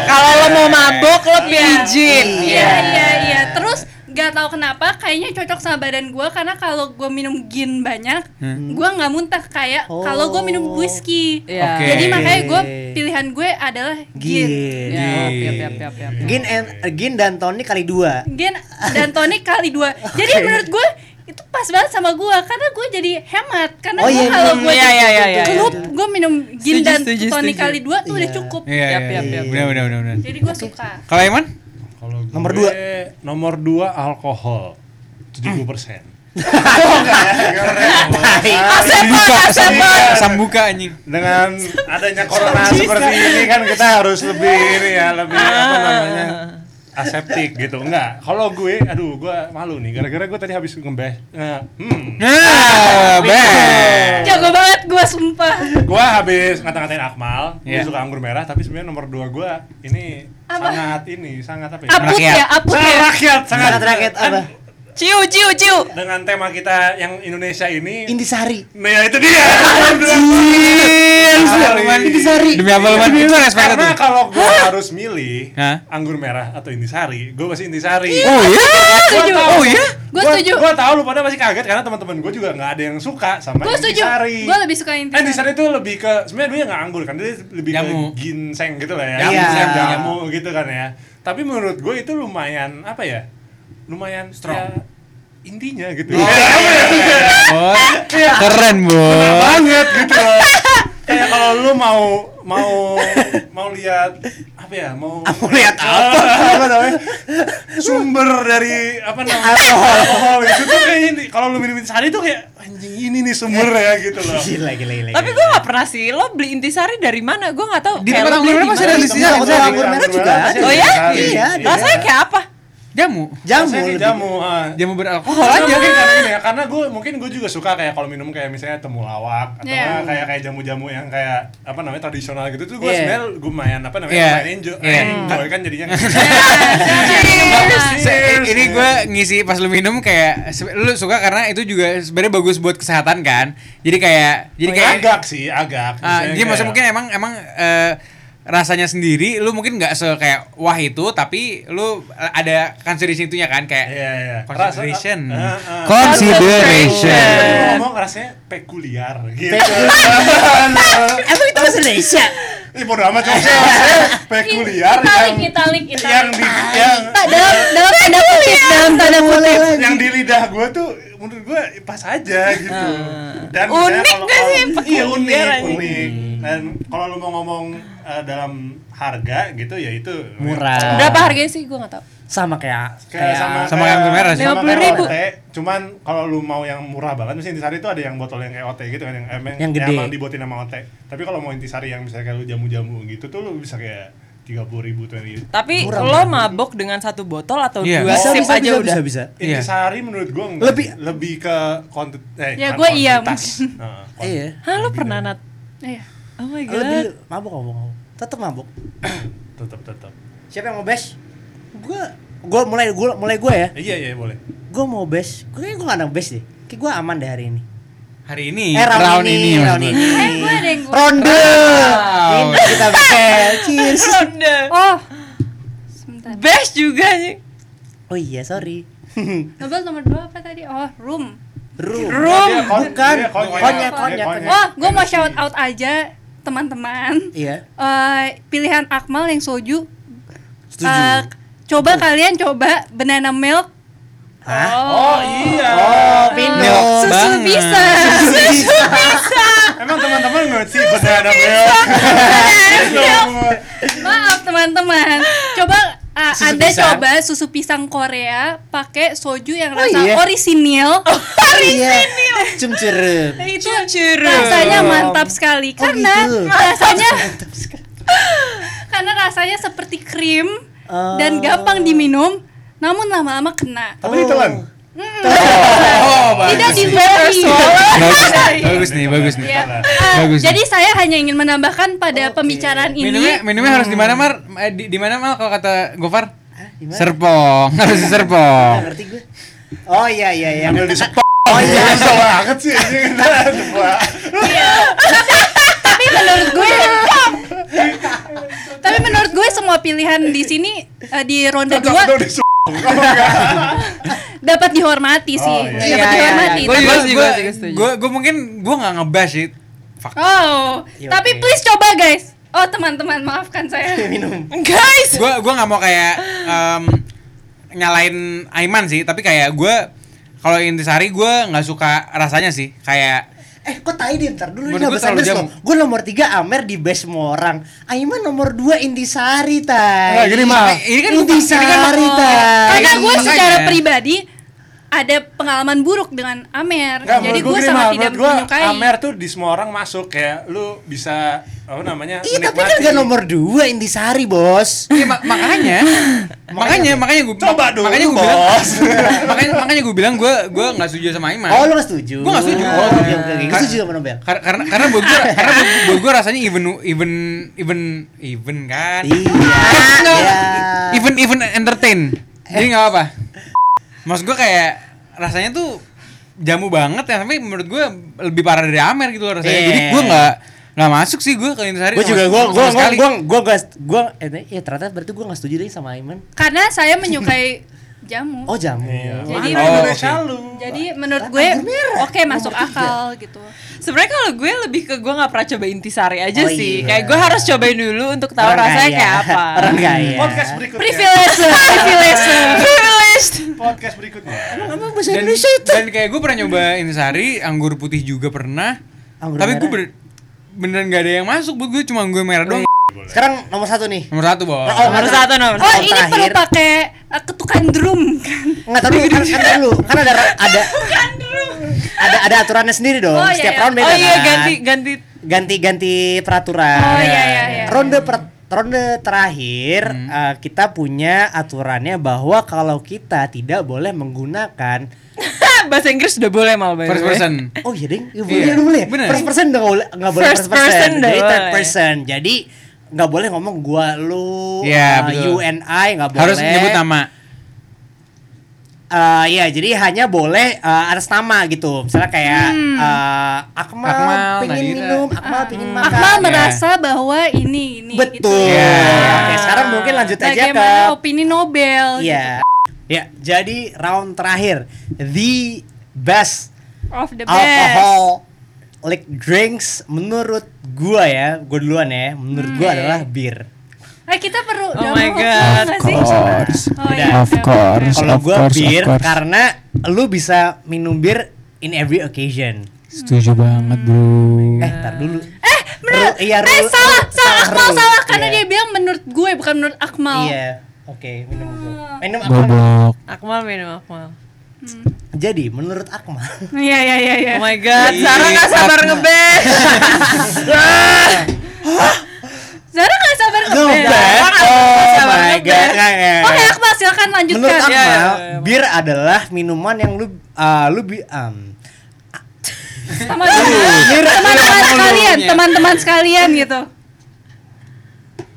kalau lo mau mabok lo pilih gin Iya iya iya. Terus gak tahu kenapa kayaknya cocok sama badan gue karena kalau gue minum gin banyak, gue nggak muntah kayak kalau gue minum whisky. Iya. Oke. Jadi makanya gue Oke. pilihan gue adalah Gin. ya gin. Gin. tiap tiap tiap tiap Gin and gin dan tonic kali dua. Gin dan tonik kali dua. Jadi menurut gue itu pas banget sama gua karena gua jadi hemat karena Oh, gua iya, kalau iya, gua iya, iya, iya, iya, celup, iya. gua minum Setuju, gin dan setuju, tonic setuju. kali dua tuh udah Iya. cukup Iya, Yap, iya, iya. yap, yap. Benar, benar, benar, benar. jadi gua suka Kalau Iman? Kalau Nomor gue, dua. Nomor dua alkohol 70% Nah, Sambuka, sambuka, sambuka anjing. dengan adanya corona seperti ini kan kita harus lebih ini ya lebih apa namanya aseptik gitu enggak kalau gue aduh gue malu nih gara-gara gue tadi habis ngebeh eh, hmm Nah, beh. jago banget gua sumpah gue habis ngata-ngatain Akmal gue Iya. suka anggur merah tapi sebenarnya nomor dua gue ini Apa? sangat ini sangat apa ya aput Rakyat. ya aput sangat ya rakyat sangat Sangat rakyat kan apa? Ciu, ciu, ciu. dengan tema kita yang Indonesia ini Indisari. nah ya itu dia Nomor dua. Indisari. Demi apa Iman? Itu respect karena tuh. kalau gue harus milih Hah? anggur merah atau Indisari gue pasti Indisari Oh iya? setuju. Oh iya? Gua setuju. Gue tahu lu pada pasti kaget karena teman-teman gue juga nggak ada yang suka sama gua setuju Intisari. gua lebih suka Eh, Intisari intisari itu lebih ke sebenarnya dia nggak anggur kan, dia lebih Jamu. ke ginseng gitu lah ya. Jamu, Ginseng, iya. jamu gitu kan ya. Tapi menurut gue itu lumayan apa ya? Lumayan strong. intinya gitu. Iya. Bos. Oh, Keren, Bos. banget gitu loh. Kayak kalau lu mau mau mau lihat apa ya? Mau Ah, Mau lihat apa? apa namanya? Sumber dari apa namanya? Alkohol. itu tuh kayak ini. Kalau lu minum intisari tuh kayak anjing ini nih sumbernya Eh, gitu loh. Gila, gila, gila. Tapi gue gak pernah sih, lo beli intisari dari mana? Gue gak tahu Di tempat beli mana masih ada Temen listinya? aku tuh anggur merah juga ada. Oh ya? Iya, ada. Rasanya kayak apa? Jamu. Jamu. Jamu, lebih. jamu. ah. Jamu beralkohol aja. Karena mungkin karena ini ya, karena gue mungkin gue juga suka kayak kalau minum kayak misalnya temulawak atau Iya. nggak kayak kayak jamu-jamu yang kayak apa namanya tradisional gitu tuh gue Iya. sebenarnya gue main apa namanya Iya. main enjoy, Iya. enjoy kan jadinya Iya. Se- ini gue ngisi pas lu minum kayak se- lu suka karena itu juga sebenarnya bagus buat kesehatan kan. Jadi kayak jadi jadi kayak agak sih agak. Ah, jadi maksudnya mungkin emang emang eh, rasanya sendiri lu mungkin nggak se kayak wah itu tapi lu eh, ada consideration itunya kan kayak Iya, iya. consideration Rasa- ah, ah. consideration Kalau ngomong rasanya pekuliar gitu. Emang itu bahasa Indonesia? Iya, Ih bodo amat cuma rasanya pekuliar yang italik italik yang italik di yang dalam dalam tanda kutip dalam tanda kutip yang di lidah gue tuh menurut gue pas aja gitu Ah. dan Unik misalnya kalau- nggak sih? kalau- iya unik Peculiar aja. unik dan kalau lu mau ngomong eh, dalam harga gitu ya itu Murah. Berapa harganya sih? Gue gak tahu Sama kayak kayak sama Sama yang merah sih. sama 50.000. kayak OT, cuman kalau lu mau yang murah banget misalnya intisari itu ada yang botol yang kayak OT gitu kan yang emang Yang gede. emang dibuatin sama OT tapi kalau mau intisari yang misalnya kayak lu jamu-jamu gitu tuh lu bisa kayak tiga puluh ribu tuh Tapi lo mabok dengan satu botol atau Iya. dua bisa sip bisa aja bisa, udah bisa bisa. Iya. intisari menurut gue Lebih- lebih ke konten eh, Ya, kan gua iya kuantitas. Nah, Iya. Hah lo pernah nat? Iya. Oh my Lu dulu god mabuk ngomong ngomong. Tetap mabuk. tetap tetap Siapa yang mau bash? Gua gua mulai gua mulai gua ya. iya iya boleh Gua mau bash. Gua kayaknya gua gak ada bash deh. Kayak gua aman deh hari ini. hari ini Eh round, ini, maksud round gua. ini. Eh, gua ada yang gua- Ronde. Round. Ini kita bash. Cheers. Ronde oh sebentar Best juga nih Oh iya, sorry. Nobel nomor dua apa tadi oh room Room. Room. Dia kon- Bukan. dia konyak. Konyak, Dia konyak, konyak. wah Oh, gua mau shout out aja teman-teman Iya. Eh, pilihan Akmal yang soju Setuju. Eh, coba kalian coba banana milk Hah? Oh iya. Oh, Pino. Milk susu banget. bisa Emang teman-teman nggak sih banana milk? maaf teman-teman coba eh, Susu anda pisang. coba susu pisang Korea pakai soju yang Oh, rasa iya. orisinil Iya. Cumcurup. itu Curu rasanya mantap sekali Oh, karena gitu. rasanya karena rasanya seperti krim dan gampang diminum namun lama-lama kena Tapi ditelan. oh tidak bagus nih. di bagus bagus nih bagus nih Ya. Bagus. Jadi saya hanya ingin menambahkan pada pembicaraan ini minumnya minumnya harus di mana mar Eh, di, di mana mal kalau kata Gofar Hah, gimana? Serpong harus di Nggak Serpong ngerti gue. Oh iya iya iya. Ambil di sepok. Oh iya. Susah banget sih. anjing. Coba. tapi menurut gue tapi menurut gue semua pilihan di sini eh, di ronde Coba tuh 2 di sepok. Kalau nggak. dapat dihormati sih iya. dapat Iya, iya, dihormati iya. Tapi- juga sih, gua gue setuju. gue gue mungkin gue nggak ngebash sih Fuck. oh Iya, tapi oke. please coba guys oh teman-teman maafkan saya minum. Guys gue gue nggak mau kayak em, nyalain Aiman sih tapi kayak gue Kalau intisari gue nggak suka rasanya sih, kayak Eh, kok tai deh ntar dulu ini Menurut gua Abas terlalu Anders jamu. loh. Gue nomor 3 Amer di base semua orang. Aiman nomor 2 Indisari, Tai. Nah, gini, Ma. Ini kan- Indisari, ini kan- Tai. Oh, Karena gue makanya. secara pribadi ada pengalaman buruk dengan Amer. Nggak, Jadi menurut gue gini, sangat Mal. tidak Menurut gua, menyukai. Amer tuh di semua orang masuk kayak lu bisa apa namanya? Iya, tapi kan menikmati. gak nomor 2 Indisari, Bos. Iya, ma- makanya, makanya, makanya gue Coba dulu, makanya gue bilang, bos. makanya, makanya gue bilang gue gue nggak setuju sama Iman. Oh, lu gak setuju? Gua nggak setuju. Kan- Oh, oke, oke, oke. Gua Kar- setuju sama Nobel. Kar- karena karena buat gue karena buat gua- buat gue rasanya even even even even kan. Iya. Nggak, Iya. Even even entertain. Jadi nggak apa. Maksud gue kayak rasanya tuh jamu banget ya sampai menurut gue lebih parah dari Amer gitu loh rasanya. Iya. Jadi gue nggak nggak masuk sih gue ke Intisari. Gue sama- juga, gue, sama gue, gue, sekali. gue, gue, gue, ya ternyata berarti gue gak setuju deh sama Aiman. Karena saya menyukai jamu. Oh, jamu. Iya. Jadi Mana Oh, Indonesia oke. lu? Jadi menurut Kan gue anggur merah. oke masuk akal gitu. Sebenarnya kalau gue lebih ke gue nggak pernah coba intisari aja Oh, sih. iya. Kayak gue harus cobain dulu untuk tahu Orang rasanya kaya. kayak apa. Orang Iya. kaya. Podcast berikutnya. Privilege, privilege, privilege. Podcast berikutnya. Emang bahasa dan, Indonesia itu. dan kayak gue pernah nyoba intisari anggur putih juga pernah Anggur tapi gue merah. bener, beneran gak ada yang masuk buat gue cuma gue merah doang Sekarang nomor satu nih. nomor satu bos Iya. Oh, Nomor nggak, satu nomor. Oh Tahun satu. ini terakhir. perlu pakai eh, ketukan drum kan? Enggak tahu kan kan dulu kan ada ada ada ada aturannya sendiri dong. Oh, iya, Setiap iya. round beda Oh iya kan? ganti ganti. ganti-ganti peraturan. Nah, Oh iya iya iya. Ronde per- ronde terakhir eh, kita punya aturannya bahwa kalau kita tidak boleh menggunakan Bahasa Inggris sudah boleh mal by the first way. person Oh iya ding, ya, Hmm. Iya, boleh dulu ya. bener. First person udah nggak boleh nggak boleh First first person, person udah jadi third boleh. person. Jadi nggak boleh ngomong gua lu Iya, eh, betul. you and I nggak boleh. harus nyebut nama Eh, iya, jadi hanya boleh eh, atas nama gitu. Misalnya kayak Hmm. eh, Akmal, nah Akmal, pengen gitu. Nadira. minum, Akmal pengen makan. Ah, hmm. Akmal Iya. merasa bahwa ini ini gitu. Betul. Iya. Oke, sekarang mungkin lanjut aja ke Bagaimana gitu? opini Nobel? Iya. Ya, jadi round terakhir the best, gitu. Of the best. alcohol like drinks menurut gua ya, gua duluan ya. Menurut gua Hmm. adalah bir. Eh kita perlu Oh udah my mau- God. nggak sih? course. Oh, Udah. iya, Of udah, course. Kalau of gua course, of bir course. karena lu bisa minum bir in every occasion. Setuju banget, Bro. Eh, ntar dulu. Eh, bener. iya, Eh Ru- salah, salah Akmal Ru. salah karena Iya. dia bilang menurut gue bukan menurut Akmal. Iya. Oke, minum dulu. Hmm. Minum Akmal. Goblok. Akmal minum Akmal. Jadi, menurut Akmal, Nah, Iya iya iya iya. Oh my god, Ih, Sarah nggak sabar Akmal. ngebet. Zara nggak sabar No ngeband. bad. Oh Sabar my god. ngeband. Nggak, nggak, nggak. Oke Akmal silakan Menurut lanjutkan. Akmal, Iya, iya, iya. bir adalah minuman yang lu ah, lu bi um, Sama iya, teman-teman sekalian, dulunya. teman-teman sekalian gitu.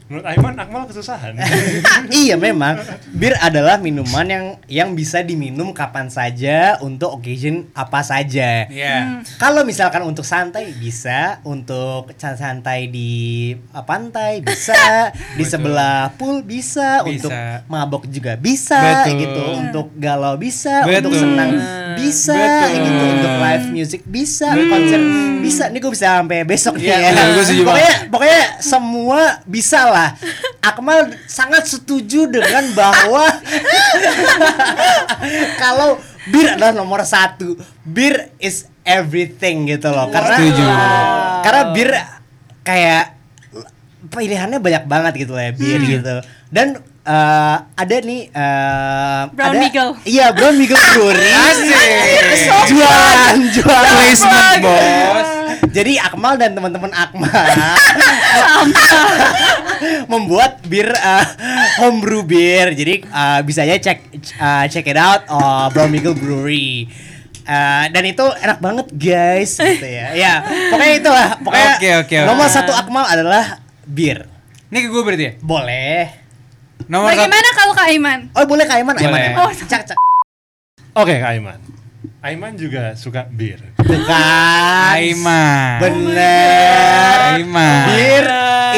Menurut Aiman Akmal kesusahan. iya memang bir adalah minuman yang yang bisa diminum kapan saja untuk occasion apa saja. Iya. Kalau misalkan untuk santai bisa, untuk can- santai di eh, pantai bisa, di Betul. sebelah pool bisa, Bisa. untuk mabok juga bisa Betul. gitu, untuk galau bisa, untuk Betul. senang bisa Betul. Hmm. gitu, untuk live music bisa, konser bisa. Ini gue bisa sampai besok nih Iya, ya. betul, gue setuju pokoknya pokoknya semua bisa lah. Akmal sangat setuju dengan bahwa kalau bir adalah nomor satu bir is everything gitu loh karena Setuju. karena bir kayak pilihannya banyak banget gitu loh ya bir Hmm. gitu dan eh, ada nih eh, Brown ada- Beagle. iya brown beagle Fury. Asik. jualan jualan Placement bos. jadi Akmal dan teman-teman Akmal membuat bir eh, homebrew bir. Jadi eh, bisa aja cek eh, check it out oh, Brown Eagle Brewery. Eh, dan itu enak banget guys gitu ya. Ya, pokoknya itu lah. Pokoknya Oke, oke, oke. nomor satu Akmal adalah bir. Ini ke gue berarti ya. Boleh. Nomor satu. Bagaimana kalau Kak Iman? Oh, boleh Kak Aiman, Aiman. Boleh. Aiman. Oh, cak cak. Oke, Kak Aiman. Aiman juga suka bir. Tuh kan. Aiman. Bener. Aiman. Beer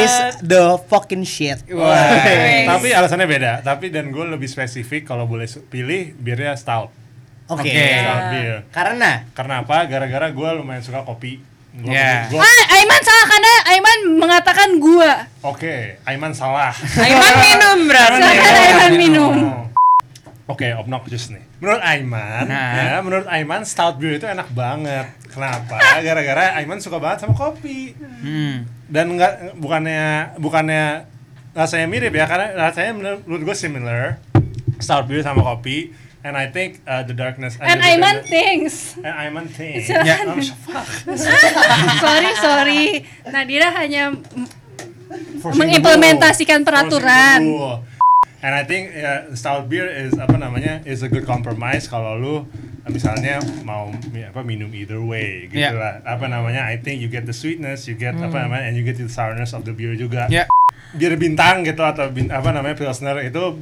is the fucking shit. Wah. Tapi alasannya beda. Tapi dan gue lebih spesifik kalau boleh su- pilih birnya stout. Oke. Oke. Stout beer. Karena Karena apa? Gara-gara gue lumayan suka kopi. Gua- Yeah. gua- Ah, Aiman salah karena Aiman mengatakan gua. Oke, Aiman salah. Oh. Aiman minum berarti. Silakan Aiman minum. Oke, obnoxious nih. Menurut Aiman, Nah. ya, menurut Aiman stout beer itu enak banget. Kenapa? Gara-gara Aiman suka banget sama kopi. Hmm. Dan nggak bukannya bukannya rasanya mirip ya, karena rasanya menur- menurut gue similar. Stout beer sama kopi. And I think uh, the darkness. And Under the Aiman Darkness- thinks. And Aiman thing. Jangan. Ya. Oh, fuck. sorry, sorry. Nadira hanya m- Forcing the mengimplementasikan rule. peraturan. Forcing the rule. And I think uh, stout beer is apa namanya is a good compromise kalau lu uh, misalnya mau mi- apa minum either way gitu Yeah. lah. Apa namanya? I think you get the sweetness, you get Hmm. apa namanya and you get the sourness of the beer juga. Ya. Beer bintang gitu atau bin- apa namanya pilsner itu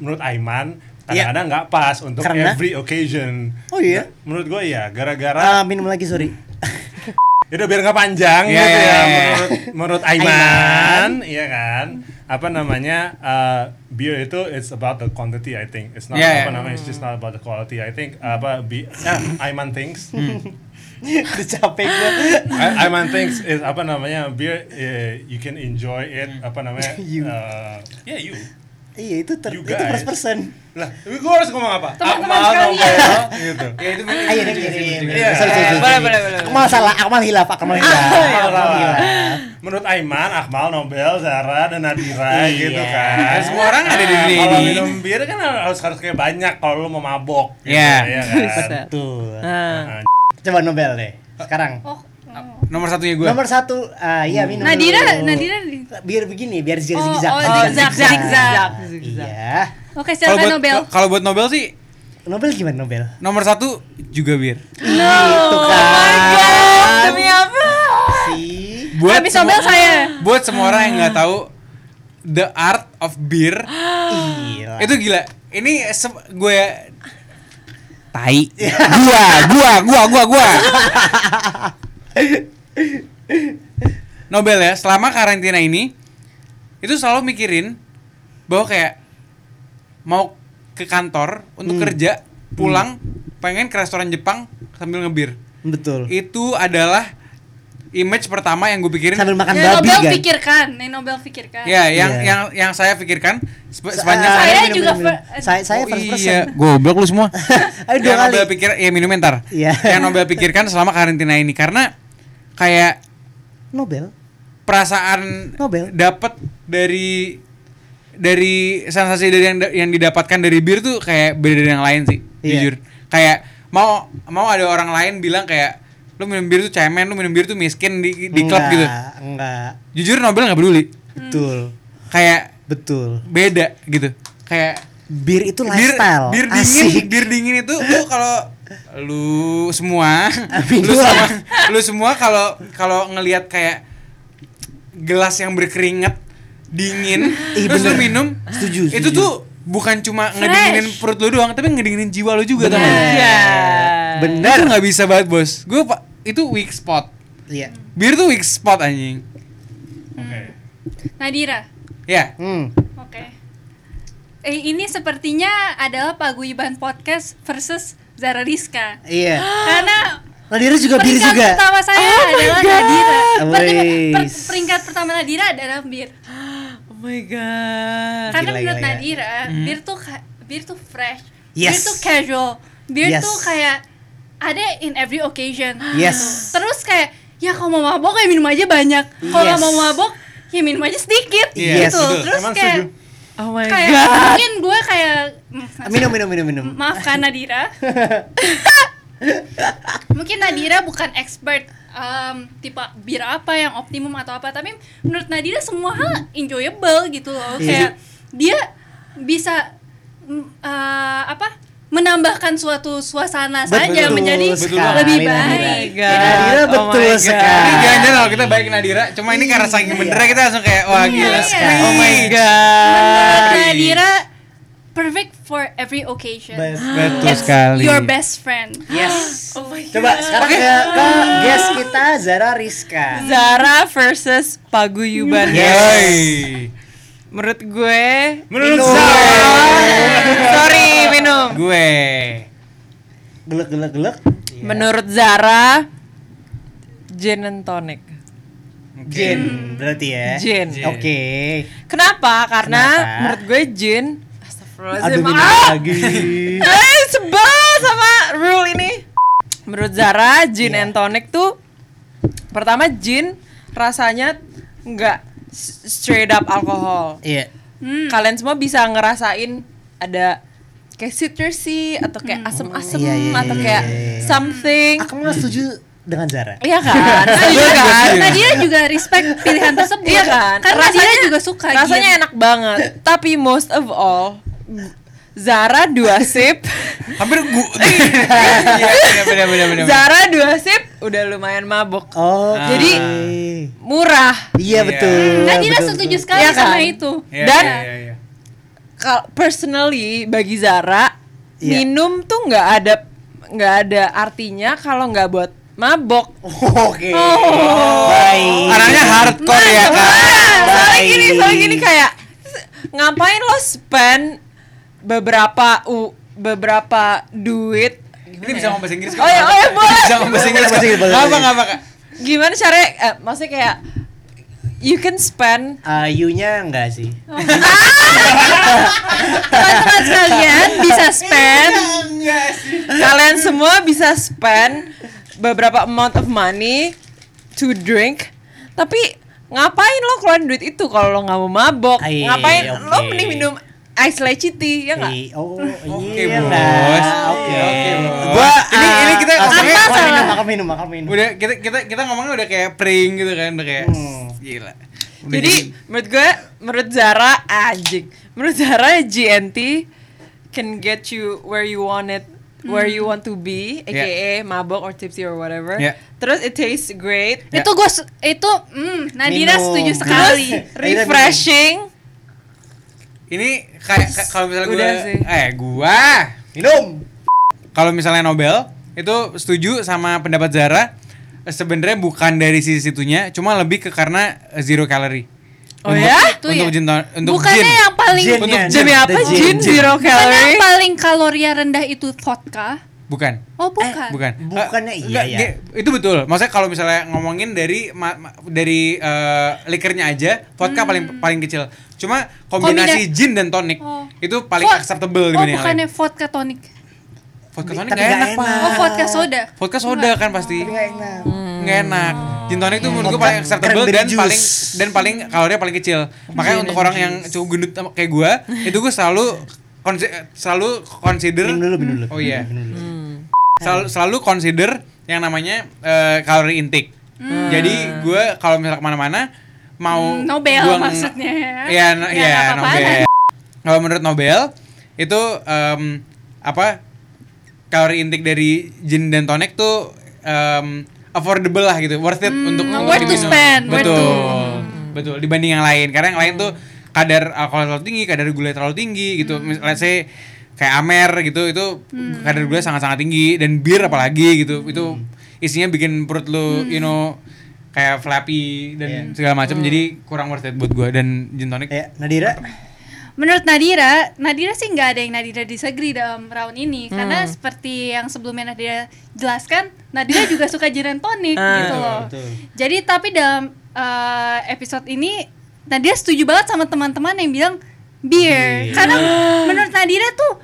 menurut Aiman Iya. kadang-kadang nggak pas untuk Karena? every occasion. Oh iya? Menurut gue ya, gara-gara Ah, minum lagi sorry. itu biar nggak panjang Iya, gitu iya, ya iya. menurut menurut Aiman, iya kan? Apa namanya uh, beer itu it's about the quantity I think. It's not Iya, iya. apa namanya it's just not about the quality. I think apa bi ah, Aiman thinks Udah capek gue. I- Aiman thinks is apa namanya beer eh, you can enjoy it apa namanya You. uh, yeah you Iya itu ter You itu guys. first person. lah gue harus ngomong apa Teman-teman Akmal sekalian. Nobel, gitu Ya itu Ayo deh kirim. Iya. Sorry, sorry, sorry. Eh, Boleh, boleh, boleh. Akmal salah, Akmal hilaf, Akmal iya, Ah, hilaf. iya, Akmal hilaf. menurut Aiman Akmal Nobel Zara dan Nadira Iya. gitu kan Kan semua orang ada di dunia kalau ini. minum bir kan harus harus kayak banyak kalau lu mau mabok gitu, Iya. ya kan? Tuh. Nah. Nah, Coba Nobel deh. Sekarang. Oh, Nomor satunya gue. Nomor satu, ah, iya minum. Nadira, dulu. Nadira di Biar begini, biar zigzag. Oh, zigzag. oh, zigzag, zigzag, zigzag. Iya. Oke, Kalau silakan buat Nobel. kalau buat Nobel sih Nobel gimana Nobel? nomor satu juga bir. Itu oh kan. Ah, Demi apa? Si. Buat Habis Nobel saya. Buat semua orang yang nggak tahu the art of beer Gila. itu gila. Ini se- gue Ya. tai. gua, gua, gua, gua, gua. Nobel ya, selama karantina ini itu selalu mikirin bahwa kayak mau ke kantor untuk kerja, pulang pengen ke restoran Jepang sambil ngebir. Betul. Itu adalah image pertama yang gue pikirin. Sambil makan Yang babi Ya, Nobel kan. pikirkan, yang Nobel pikirkan. Ya, yang Iya. yang yang saya pikirkan sepa- Sa- sepanjang ah, Saya minum, juga minum, minum. fir- Saya saya Oh first iya, person. goblok lu semua. Ayo dua yang kali. Nobel pikir ya minum ntar. Iya. Yang Nobel pikirkan selama karantina ini karena kayak Nobel. perasaan Nobel. dapat dari dari sensasi dari yang yang didapatkan dari bir tuh kayak beda dari yang lain sih, Iya. jujur. Kayak mau mau ada orang lain bilang kayak lu minum bir tuh cemen, lu minum bir tuh miskin di di klub Enggak, gitu. Enggak. Hmm. Jujur Nobel nggak peduli. Betul. Kayak Betul. beda gitu. Kayak Bir itu bir, lifestyle. bir dingin Asik. bir dingin itu lu kalau lu semua Amin. lu semua lu semua kalau kalau ngelihat kayak gelas yang berkeringat dingin Ih, terus lu bener. minum Setuju, itu setuju. tuh bukan cuma ngedinginin perut lu doang tapi ngedinginin jiwa lu juga tau nggak? Iya. itu nggak bisa banget bos gue itu weak spot Iya. bir tuh weak spot anjing oke. Nadira. ya Hmm. Oke. Eh, ini sepertinya adalah Paguyuban Podcast versus Zara Rizka. Iya. Karena Nadira juga bir peringkat juga. pertama saya adalah Nadira. Peringkat, per- Wes. peringkat pertama Nadira adalah bir. Oh my god. Karena Gila, menurut gila, gila. Nadira, bir tuh ka- bir tuh fresh, bir Yes. tuh casual, bir Yes. tuh kayak ada in every occasion. Yes. Terus kayak ya kalau mau mabok ya minum aja banyak. Kalau nggak Yes. mau mabok ya minum aja sedikit Yes, gitu. betul. Terus Emang kayak setuju. Oh my kayak god. mungkin gue kayak mm, Minum minum minum minum. maaf kan Nadira. mungkin Nadira bukan expert um, tipe bir apa yang optimum atau apa tapi menurut Nadira semua hal enjoyable gitu loh Iya. kayak dia bisa mm, uh, apa menambahkan suatu suasana saja Betul menjadi sekali, lebih Nadira. baik Iya. God. Nadira Oh my betul God. ini sekali. jangan kalau kita baik Nadira cuma ini karena saking bener kita langsung kayak wah gila iya. sekali Oh my menurut Nadira perfect for every occasion Betul Oh It's sekali. your best friend Yes. Oh my god. Coba sekarang ke, ke guest kita Zara Rizka. Zara versus Paguyuban. Yoi. Menurut gue Menurut Minum. Zara, Sorry minum. Gue. Gelek gelek gelek. Menurut Zara gin and tonic. Jin berarti ya. Jin. Oke. Kenapa? Karena Kenapa? menurut gue gin Astagfirullah. Aduh Astagfirullahaladzim minum Ah! lagi. Eh, sebel sama rule ini. Menurut Zara, gin and tonic tuh pertama gin rasanya nggak s- straight up alkohol. Iya. Kalian semua bisa ngerasain ada kayak citrusy atau kayak asem-asem Iya, iya, atau iya, kayak iya, iya. something. Aku malah setuju dengan Zara. Iya kan? Iya kan? Nadira juga respect pilihan tersebut Iya kan? Kan Nadira juga suka Rasanya gin. enak banget. Tapi most of all Zara dua sip Hampir gua. Iya, iya, bener, bener, bener. Zara dua sip udah lumayan mabok. Oh. Ah. Jadi murah. Iya betul. Kan Nadira betul, setuju betul. sekali Iya sama kan? itu Iya, Dan- iya, iya, iya. Kal- personally bagi Zara Iya. minum tuh nggak ada nggak ada artinya kalau nggak buat mabok. Oke. Baik. Arahnya hardcore ya kan. Ah, soalnya Baik. gini, soalnya gini kayak s- ngapain lo spend beberapa u beberapa duit Ini bisa ngomong bahasa Inggris kan? Oh ya, oh ya, boleh. Bisa ngomong bahasa Inggris kan? Boleh, boleh, Nggak apa, boleh. nggak apa, Kak. gimana caranya? Eh, maksudnya kayak you can spend Ayunya enggak Ah, sih? teman-teman sekalian bisa spend kalian semua bisa spend beberapa amount of money to drink tapi ngapain lo keluarin duit itu kalau lo nggak mau mabok Ay, ngapain lo oke. mending minum ice leci tea ya nggak Eh, Oh, Oke, iya Bos. lah. Oke, oke, Bos. Gua ah, Ini- ini kita ngomongnya- ngomongnya minum, aku minum, aku minum. Udah kita kita kita ngomongnya udah kayak pring gitu kan, udah kayak Hmm. gila. Udah jadi menurut gue menurut Zara anjing menurut Zara GNT can get you where you want it where you want to be aka mabok or tipsy or whatever Yeah. terus it tastes great Ya. Itu gue su- itu mm, Nadira Minum. setuju Terus- sekali. Iya. refreshing ini kayak kayak kalau misalnya gua Udah sih. eh gua Minum. kalau misalnya Nobel itu setuju sama pendapat Zara eh, sebenarnya bukan dari sisi situnya cuma lebih ke karena eh, zero calorie Oh untuk, ya? Itu untuk ya. jin ton- untuk Bukannya gin. yang paling Gin-nya. Untuk ya, Demi The apa? Gin, zero bukannya yang calorie. paling kaloria rendah itu vodka? bukan Oh Eh, bukan. bukan Bukannya Eh, iya enggak, ya. dia- itu betul maksudnya kalau misalnya ngomongin dari ma- ma- dari eh, likernya aja vodka paling paling kecil cuma kombinasi Kombina- gin dan tonic Hmm. Oh. itu paling Vod- acceptable Oh dibanding yang bukannya lain. vodka tonic. vodka tonic Tapi nggak nggak enak, pak Ah. Oh vodka soda. vodka soda kan pasti Nggak enak. nggak enak. Gin tonic itu menurut gue Vodka paling acceptable Oh. cranberry dan juice. Iya, paling dan paling kalorinya paling kecil. Makanya untuk orang yang cukup gendut sama- kayak gue, itu gue selalu konsi- selalu consider Minum dulu, minum dulu. Oh iya. Minum dulu. Hmm. selalu selalu consider yang namanya eh, kalori intake. Jadi gue kalau misalnya kemana-mana mau Hmm, Nobel gua nge- maksudnya ya. Iya, no- Ya, iya, nggak apa-apaan. Nobel. Kalau menurut Nobel itu em, apa kalori intake dari gin dan tonic tuh em, affordable lah gitu, worth it untuk untuk Hmm, worth to diminum. spend, worth Betul. to- Betul, dibanding yang lain. Karena yang lain tuh kadar alkohol terlalu tinggi, kadar gula terlalu tinggi gitu. Hmm. Mis- Let's say kayak amer gitu itu kadar gula sangat-sangat tinggi dan bir apalagi gitu. Hmm. Itu isinya bikin perut lu you know kayak flappy dan segala macam Hmm. jadi kurang worth it buat gua dan gin tonic. Ya, Nadira. Menurut Nadira, Nadira sih nggak ada yang Nadira disagree dalam round ini karena seperti yang sebelumnya Nadira jelaskan, Nadira juga suka gin and tonic gitu loh. Jadi tapi dalam eh, episode ini Nadira setuju banget sama teman-teman yang bilang beer karena menurut Nadira tuh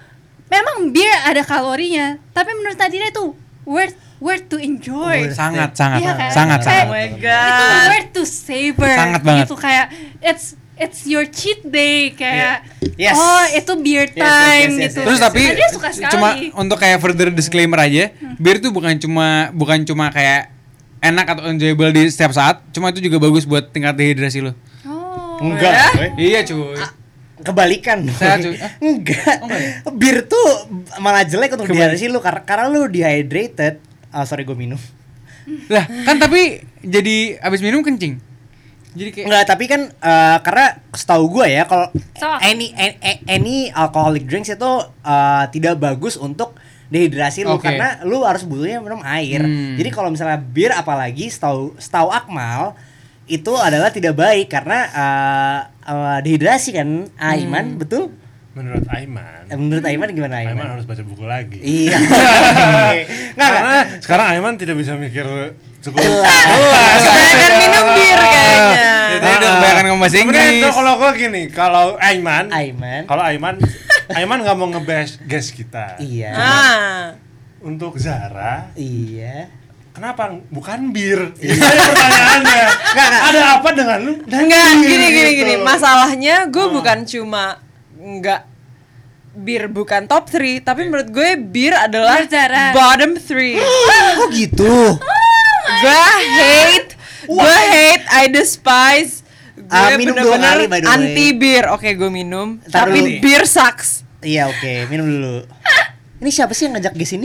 memang beer ada kalorinya, tapi menurut Nadira tuh worth worth to enjoy. Worth Sangat sangat Iya kan? sangat sangat. Kayak- Oh my itu Iya. god. worth to savor Sangat banget. gitu kayak it's it's your cheat day kayak Iya. Yes. oh itu beer yes, time yes, yes, gitu yes, Terus yes, tapi Nah, dia suka sekali Hmm. cuma untuk kayak further disclaimer aja, bir itu bukan cuma bukan cuma kayak enak atau enjoyable di setiap saat, cuma itu juga bagus buat tingkat dehidrasi lo. oh Enggak. ya? coy. Iya cuy. Ah. Kebalikan. Sehat, cuy. Ah. Enggak. Bir tuh malah jelek untuk dehidrasi lu karena karena lu dehydrated. Ah, sorry gue minum. Lah kan tapi jadi abis minum kencing. Jadi kayak Enggak, tapi kan eh, karena setahu gue ya kalau Salah. any, any any alcoholic drinks itu eh, tidak bagus untuk dehidrasi lu Oke. karena lu harus butuhnya minum air. Hmm. Jadi kalau misalnya bir apalagi setahu setahu Akmal itu adalah tidak baik karena eh, eh, dehidrasi kan Aiman, betul? Menurut Aiman, Eh, Menurut Aiman gimana Aiman? Aiman harus baca buku lagi. Iya. Nah, Nggak, Karena nggak. sekarang Aiman tidak bisa mikir cukup. Kebanyakan minum bir kayaknya. Jadi udah Iya. kebanyakan ngomong bahasa Nah, Sebenarnya Inggris. itu kalau gue gini, kalau Aiman, Aiman. kalau Aiman Aiman nggak mau ngebash guest kita. Iya. Ah. Untuk Zara, Iya. kenapa bukan bir? Itu aja pertanyaannya. Ada apa dengan lu? Dan Enggak, bir gini gini gitu. gini. Masalahnya gue Hmm. bukan cuma enggak bir bukan top 3, tapi menurut gue bir adalah Menurut Zara. bottom 3. Kok gitu? gue hate, gue hate, I despise. Gue Ah, minum dua bener-bener kali, by the way. anti bir. Oke, gue minum. Ntar tapi dulu. bir sucks. Iya oke, minum dulu. Ini siapa sih yang ngajak di sini?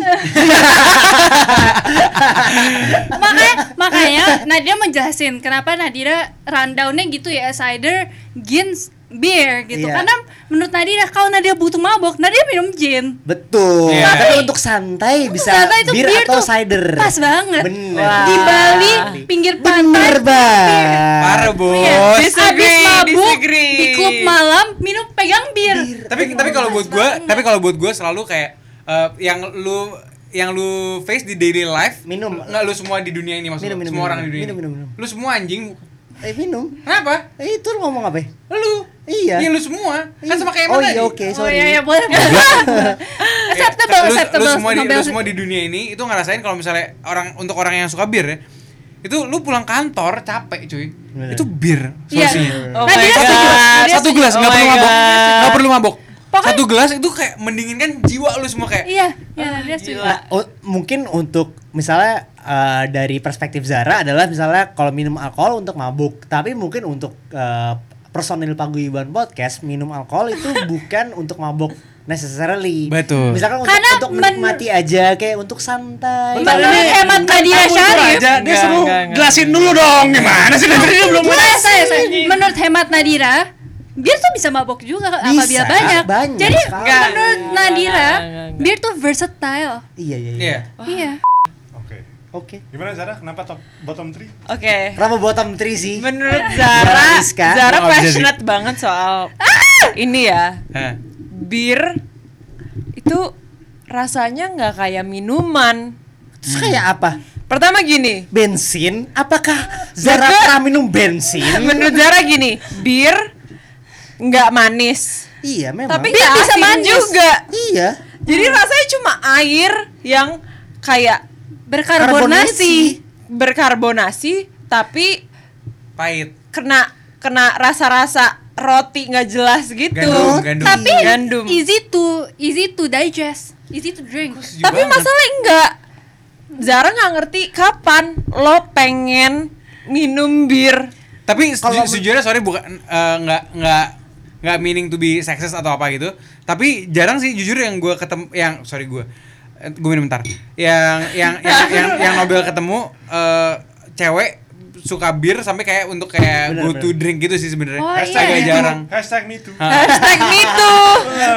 makanya makanya Nadira menjelasin kenapa Nadira rundownnya gitu ya cider gin beer gitu Iya. karena menurut Nadira kalau Nadira butuh mabok Nadira minum gin Betul. Iya. Tapi untuk santai bisa Ternyata itu bir atau tuh cider. pas banget Bener. di Bali pinggir pantai Ah. Bener banget. Parah, Bos. Iya. Disagree, Abis mabuk disagree. di klub malam minum pegang bir. tapi tapi kalau buat gue Iya. tapi kalau buat gue selalu kayak eh, yang lu yang lu face di daily life Minum. nggak lu semua di dunia ini maksudnya Minum, minum, semua minum, orang di dunia minum, ini. minum, minum. lu semua anjing Eh minum. kenapa Eh, itu lu ngomong apa? ya? lu Iya. lu semua kan sama kayak Oh Emma iya tadi. oke, Oh sorry. iya iya boleh. Kayak, acceptable Eh, lu, acceptable. lu semua di, Nobel. lu semua di dunia ini itu ngerasain kalau misalnya orang untuk orang yang suka bir ya itu lu pulang kantor capek cuy Bener. itu bir Iya. solusinya Nah, Oh Nadira my setuju. God. Nadira satu gelas Oh nggak my perlu mabok God. nggak perlu mabok Pokoknya- satu gelas itu kayak mendinginkan jiwa lu semua kayak Iya, iya Ah, Nadira gila. setuju. O- Nah, mungkin untuk misalnya eh, dari perspektif Zara adalah misalnya kalau minum alkohol untuk mabuk, tapi mungkin untuk eh, personil paguyuban podcast minum alkohol itu bukan untuk mabuk necessarily. Betul. Misalkan untuk, Karena untuk men- menikmati aja kayak untuk santai. Iya, Bentar, Menurut ini- hemat Nadira Kamu mundur Syarif. aja, Dia Enggak, suruh enggak, enggak. jelasin dulu dong. Gimana sih dari tadi dia belum Mulai saya, saya. Menurut hemat Nadira, bir tuh bisa mabok juga apabila banyak. banyak Jadi sekali. menurut Nadira, enggak, enggak, enggak. bir tuh versatile. Iya iya iya. iya Iya. Oke. Oke. Gimana Zara? Kenapa top bottom 3? Oke. kan? Kenapa bottom 3 sih? Menurut Zara, Menurut Rizka. Oh, Zara Menurut Rizka. passionate banget soal ini ya. Hah. bir itu rasanya nggak kayak minuman. Terus kayak apa? Pertama gini, Bensin? Apakah Zara Betul. pernah minum bensin? menurut Zara gini, bir nggak manis, iya memang. tapi Bir nggak bisa asin manis. juga. Hmm. iya. Jadi rasanya cuma air yang kayak Berkarbonasi. berkarbonasi, tapi pahit kena kena rasa-rasa roti nggak jelas gitu. Gandum, gandum. Tapi Gandum. easy to easy to digest, easy to drink. tapi masalah enggak Zara nggak ngerti kapan lo pengen minum bir tapi seju- sejujurnya sorry bukan eh, nggak nggak nggak meaning to be sexist atau apa gitu tapi jarang sih jujur yang gue ketemu yang sorry gue gue minum bentar yang yang yang yang, yang Nobel ketemu eh, cewek suka bir sampai kayak untuk kayak Bener, go bener. to drink gitu sih sebenarnya Oh, agak iya. jarang Hashtag me too. Hah. hashtag me too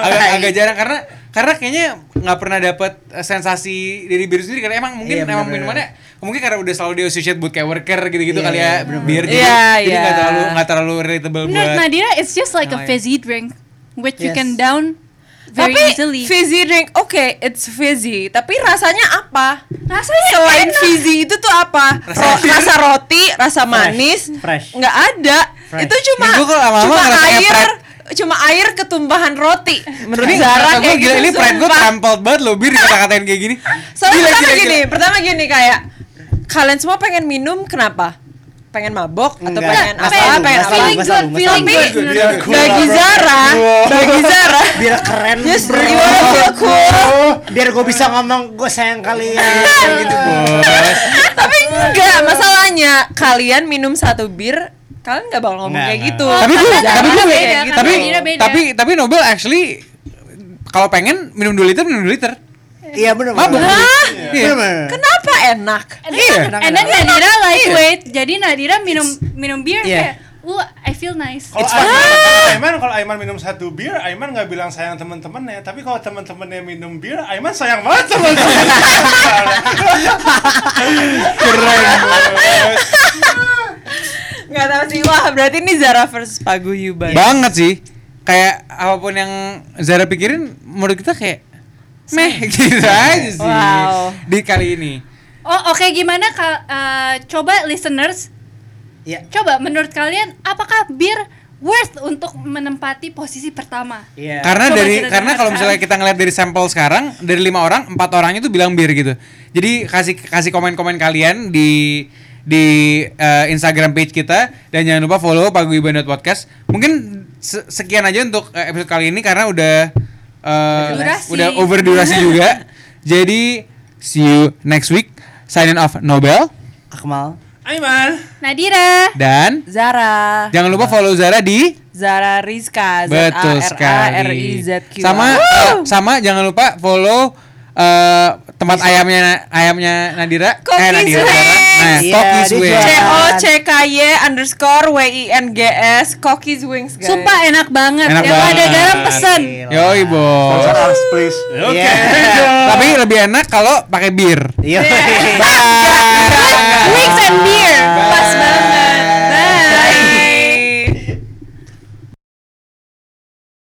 agak, agak jarang karena karena kayaknya nggak pernah dapat eh, sensasi dari bir sendiri karena emang mungkin Iya, bener, emang bener. minumannya mungkin karena udah selalu di associate buat kayak worker gitu-gitu Iya, kali iya, ya bener, bir bener. jadi Iya, jadi iya. Nah, nggak terlalu nggak terlalu relatable Menurut buat Nadira, it's just like Oh, a iya. fizzy drink which you Yes. can down very tapi easily. fizzy drink oke it's fizzy tapi rasanya apa Rasanya selain enak. fizzy itu tuh apa Ro- rasa roti rasa manis Fresh. nggak ada Fresh. itu cuma Ini gua kok lama-lama cuma ngerasa kayak air Fred. cuma air ketumpahan roti menurut Ini Zara kata gua kayak gila, gitu ini pride gue sumpah. trampled banget loh bir dikata-katain kayak gini Soalnya Gila, pertama gila, gini, gila. pertama gini kayak kalian semua pengen minum kenapa? Pengen mabok atau Enggak. pengen Mas apa? Alun, Pengen Mas apa? Alun, Feeling Mas good, Alun, Mas feeling Alun. good. Dia cool Bagi lah, Zara, bagi Zara. biar keren Yes, bro. Oh, you wanna feel cool. biar gue bisa ngomong gue sayang kalian gitu Tapi enggak, masalahnya kalian minum satu bir, kalian nggak bakal ngomong Enggak, kayak enggak. gitu. tapi gue Zara tapi gue kayak beda, gitu. tapi Nadira beda. tapi tapi Nobel actually kalau pengen minum 2 liter minum 2 liter iya Iya. bener mabok bener. Hah? Bener, bener. Kenapa enak? And Iya. then, Nah, and then Nadira lightweight. Jadi Nadira minum minum bir Iya. kayak, "Uh, I feel nice." Kalau Aiman, Aiman kalau Aiman minum satu bir, Aiman nggak bilang sayang teman-temannya, tapi kalau teman-temannya minum bir, Aiman sayang banget teman-temannya. keren Nggak tahu sih. Wah, berarti ini Zara versus Paguyuban. banget sih kayak apapun yang Zara pikirin menurut kita kayak meh gitu aja sih Wow. di kali ini Oh, oke gimana ka- eh, coba listeners? Iya. Coba menurut kalian apakah bir worth untuk menempati posisi pertama. Iya. Karena Coba dari kita karena kalau dengarkan. misalnya kita ngeliat dari sampel sekarang dari lima orang empat orangnya tuh bilang bir gitu. Jadi kasih kasih komen-komen kalian di di eh, Instagram page kita dan jangan lupa follow Paguyuban podcast. Mungkin se- sekian aja untuk eh, episode kali ini karena udah eh, Durasi. udah over durasi juga. Jadi see you next week. Signing off Nobel Akmal. Nadira. dan Zara jangan lupa follow Zara di Zara Rizka Z Betul A R A R I sekali. Z Q Sama eh, sama jangan lupa follow eh, tempat ayamnya ayamnya Nadira. Coffee Sweet. Nah, Iya, Coffee dia Sweet. jual. C O C K Y underscore W I N G S Cookies Wings guys Sumpah enak banget. Enak Yang ada banget. garam pesan. Yoi, bos. Sponsor us, please. Oke. Iya. Tapi lebih enak kalau pakai bir. Iya. Yeah. Bye. Wings and beer.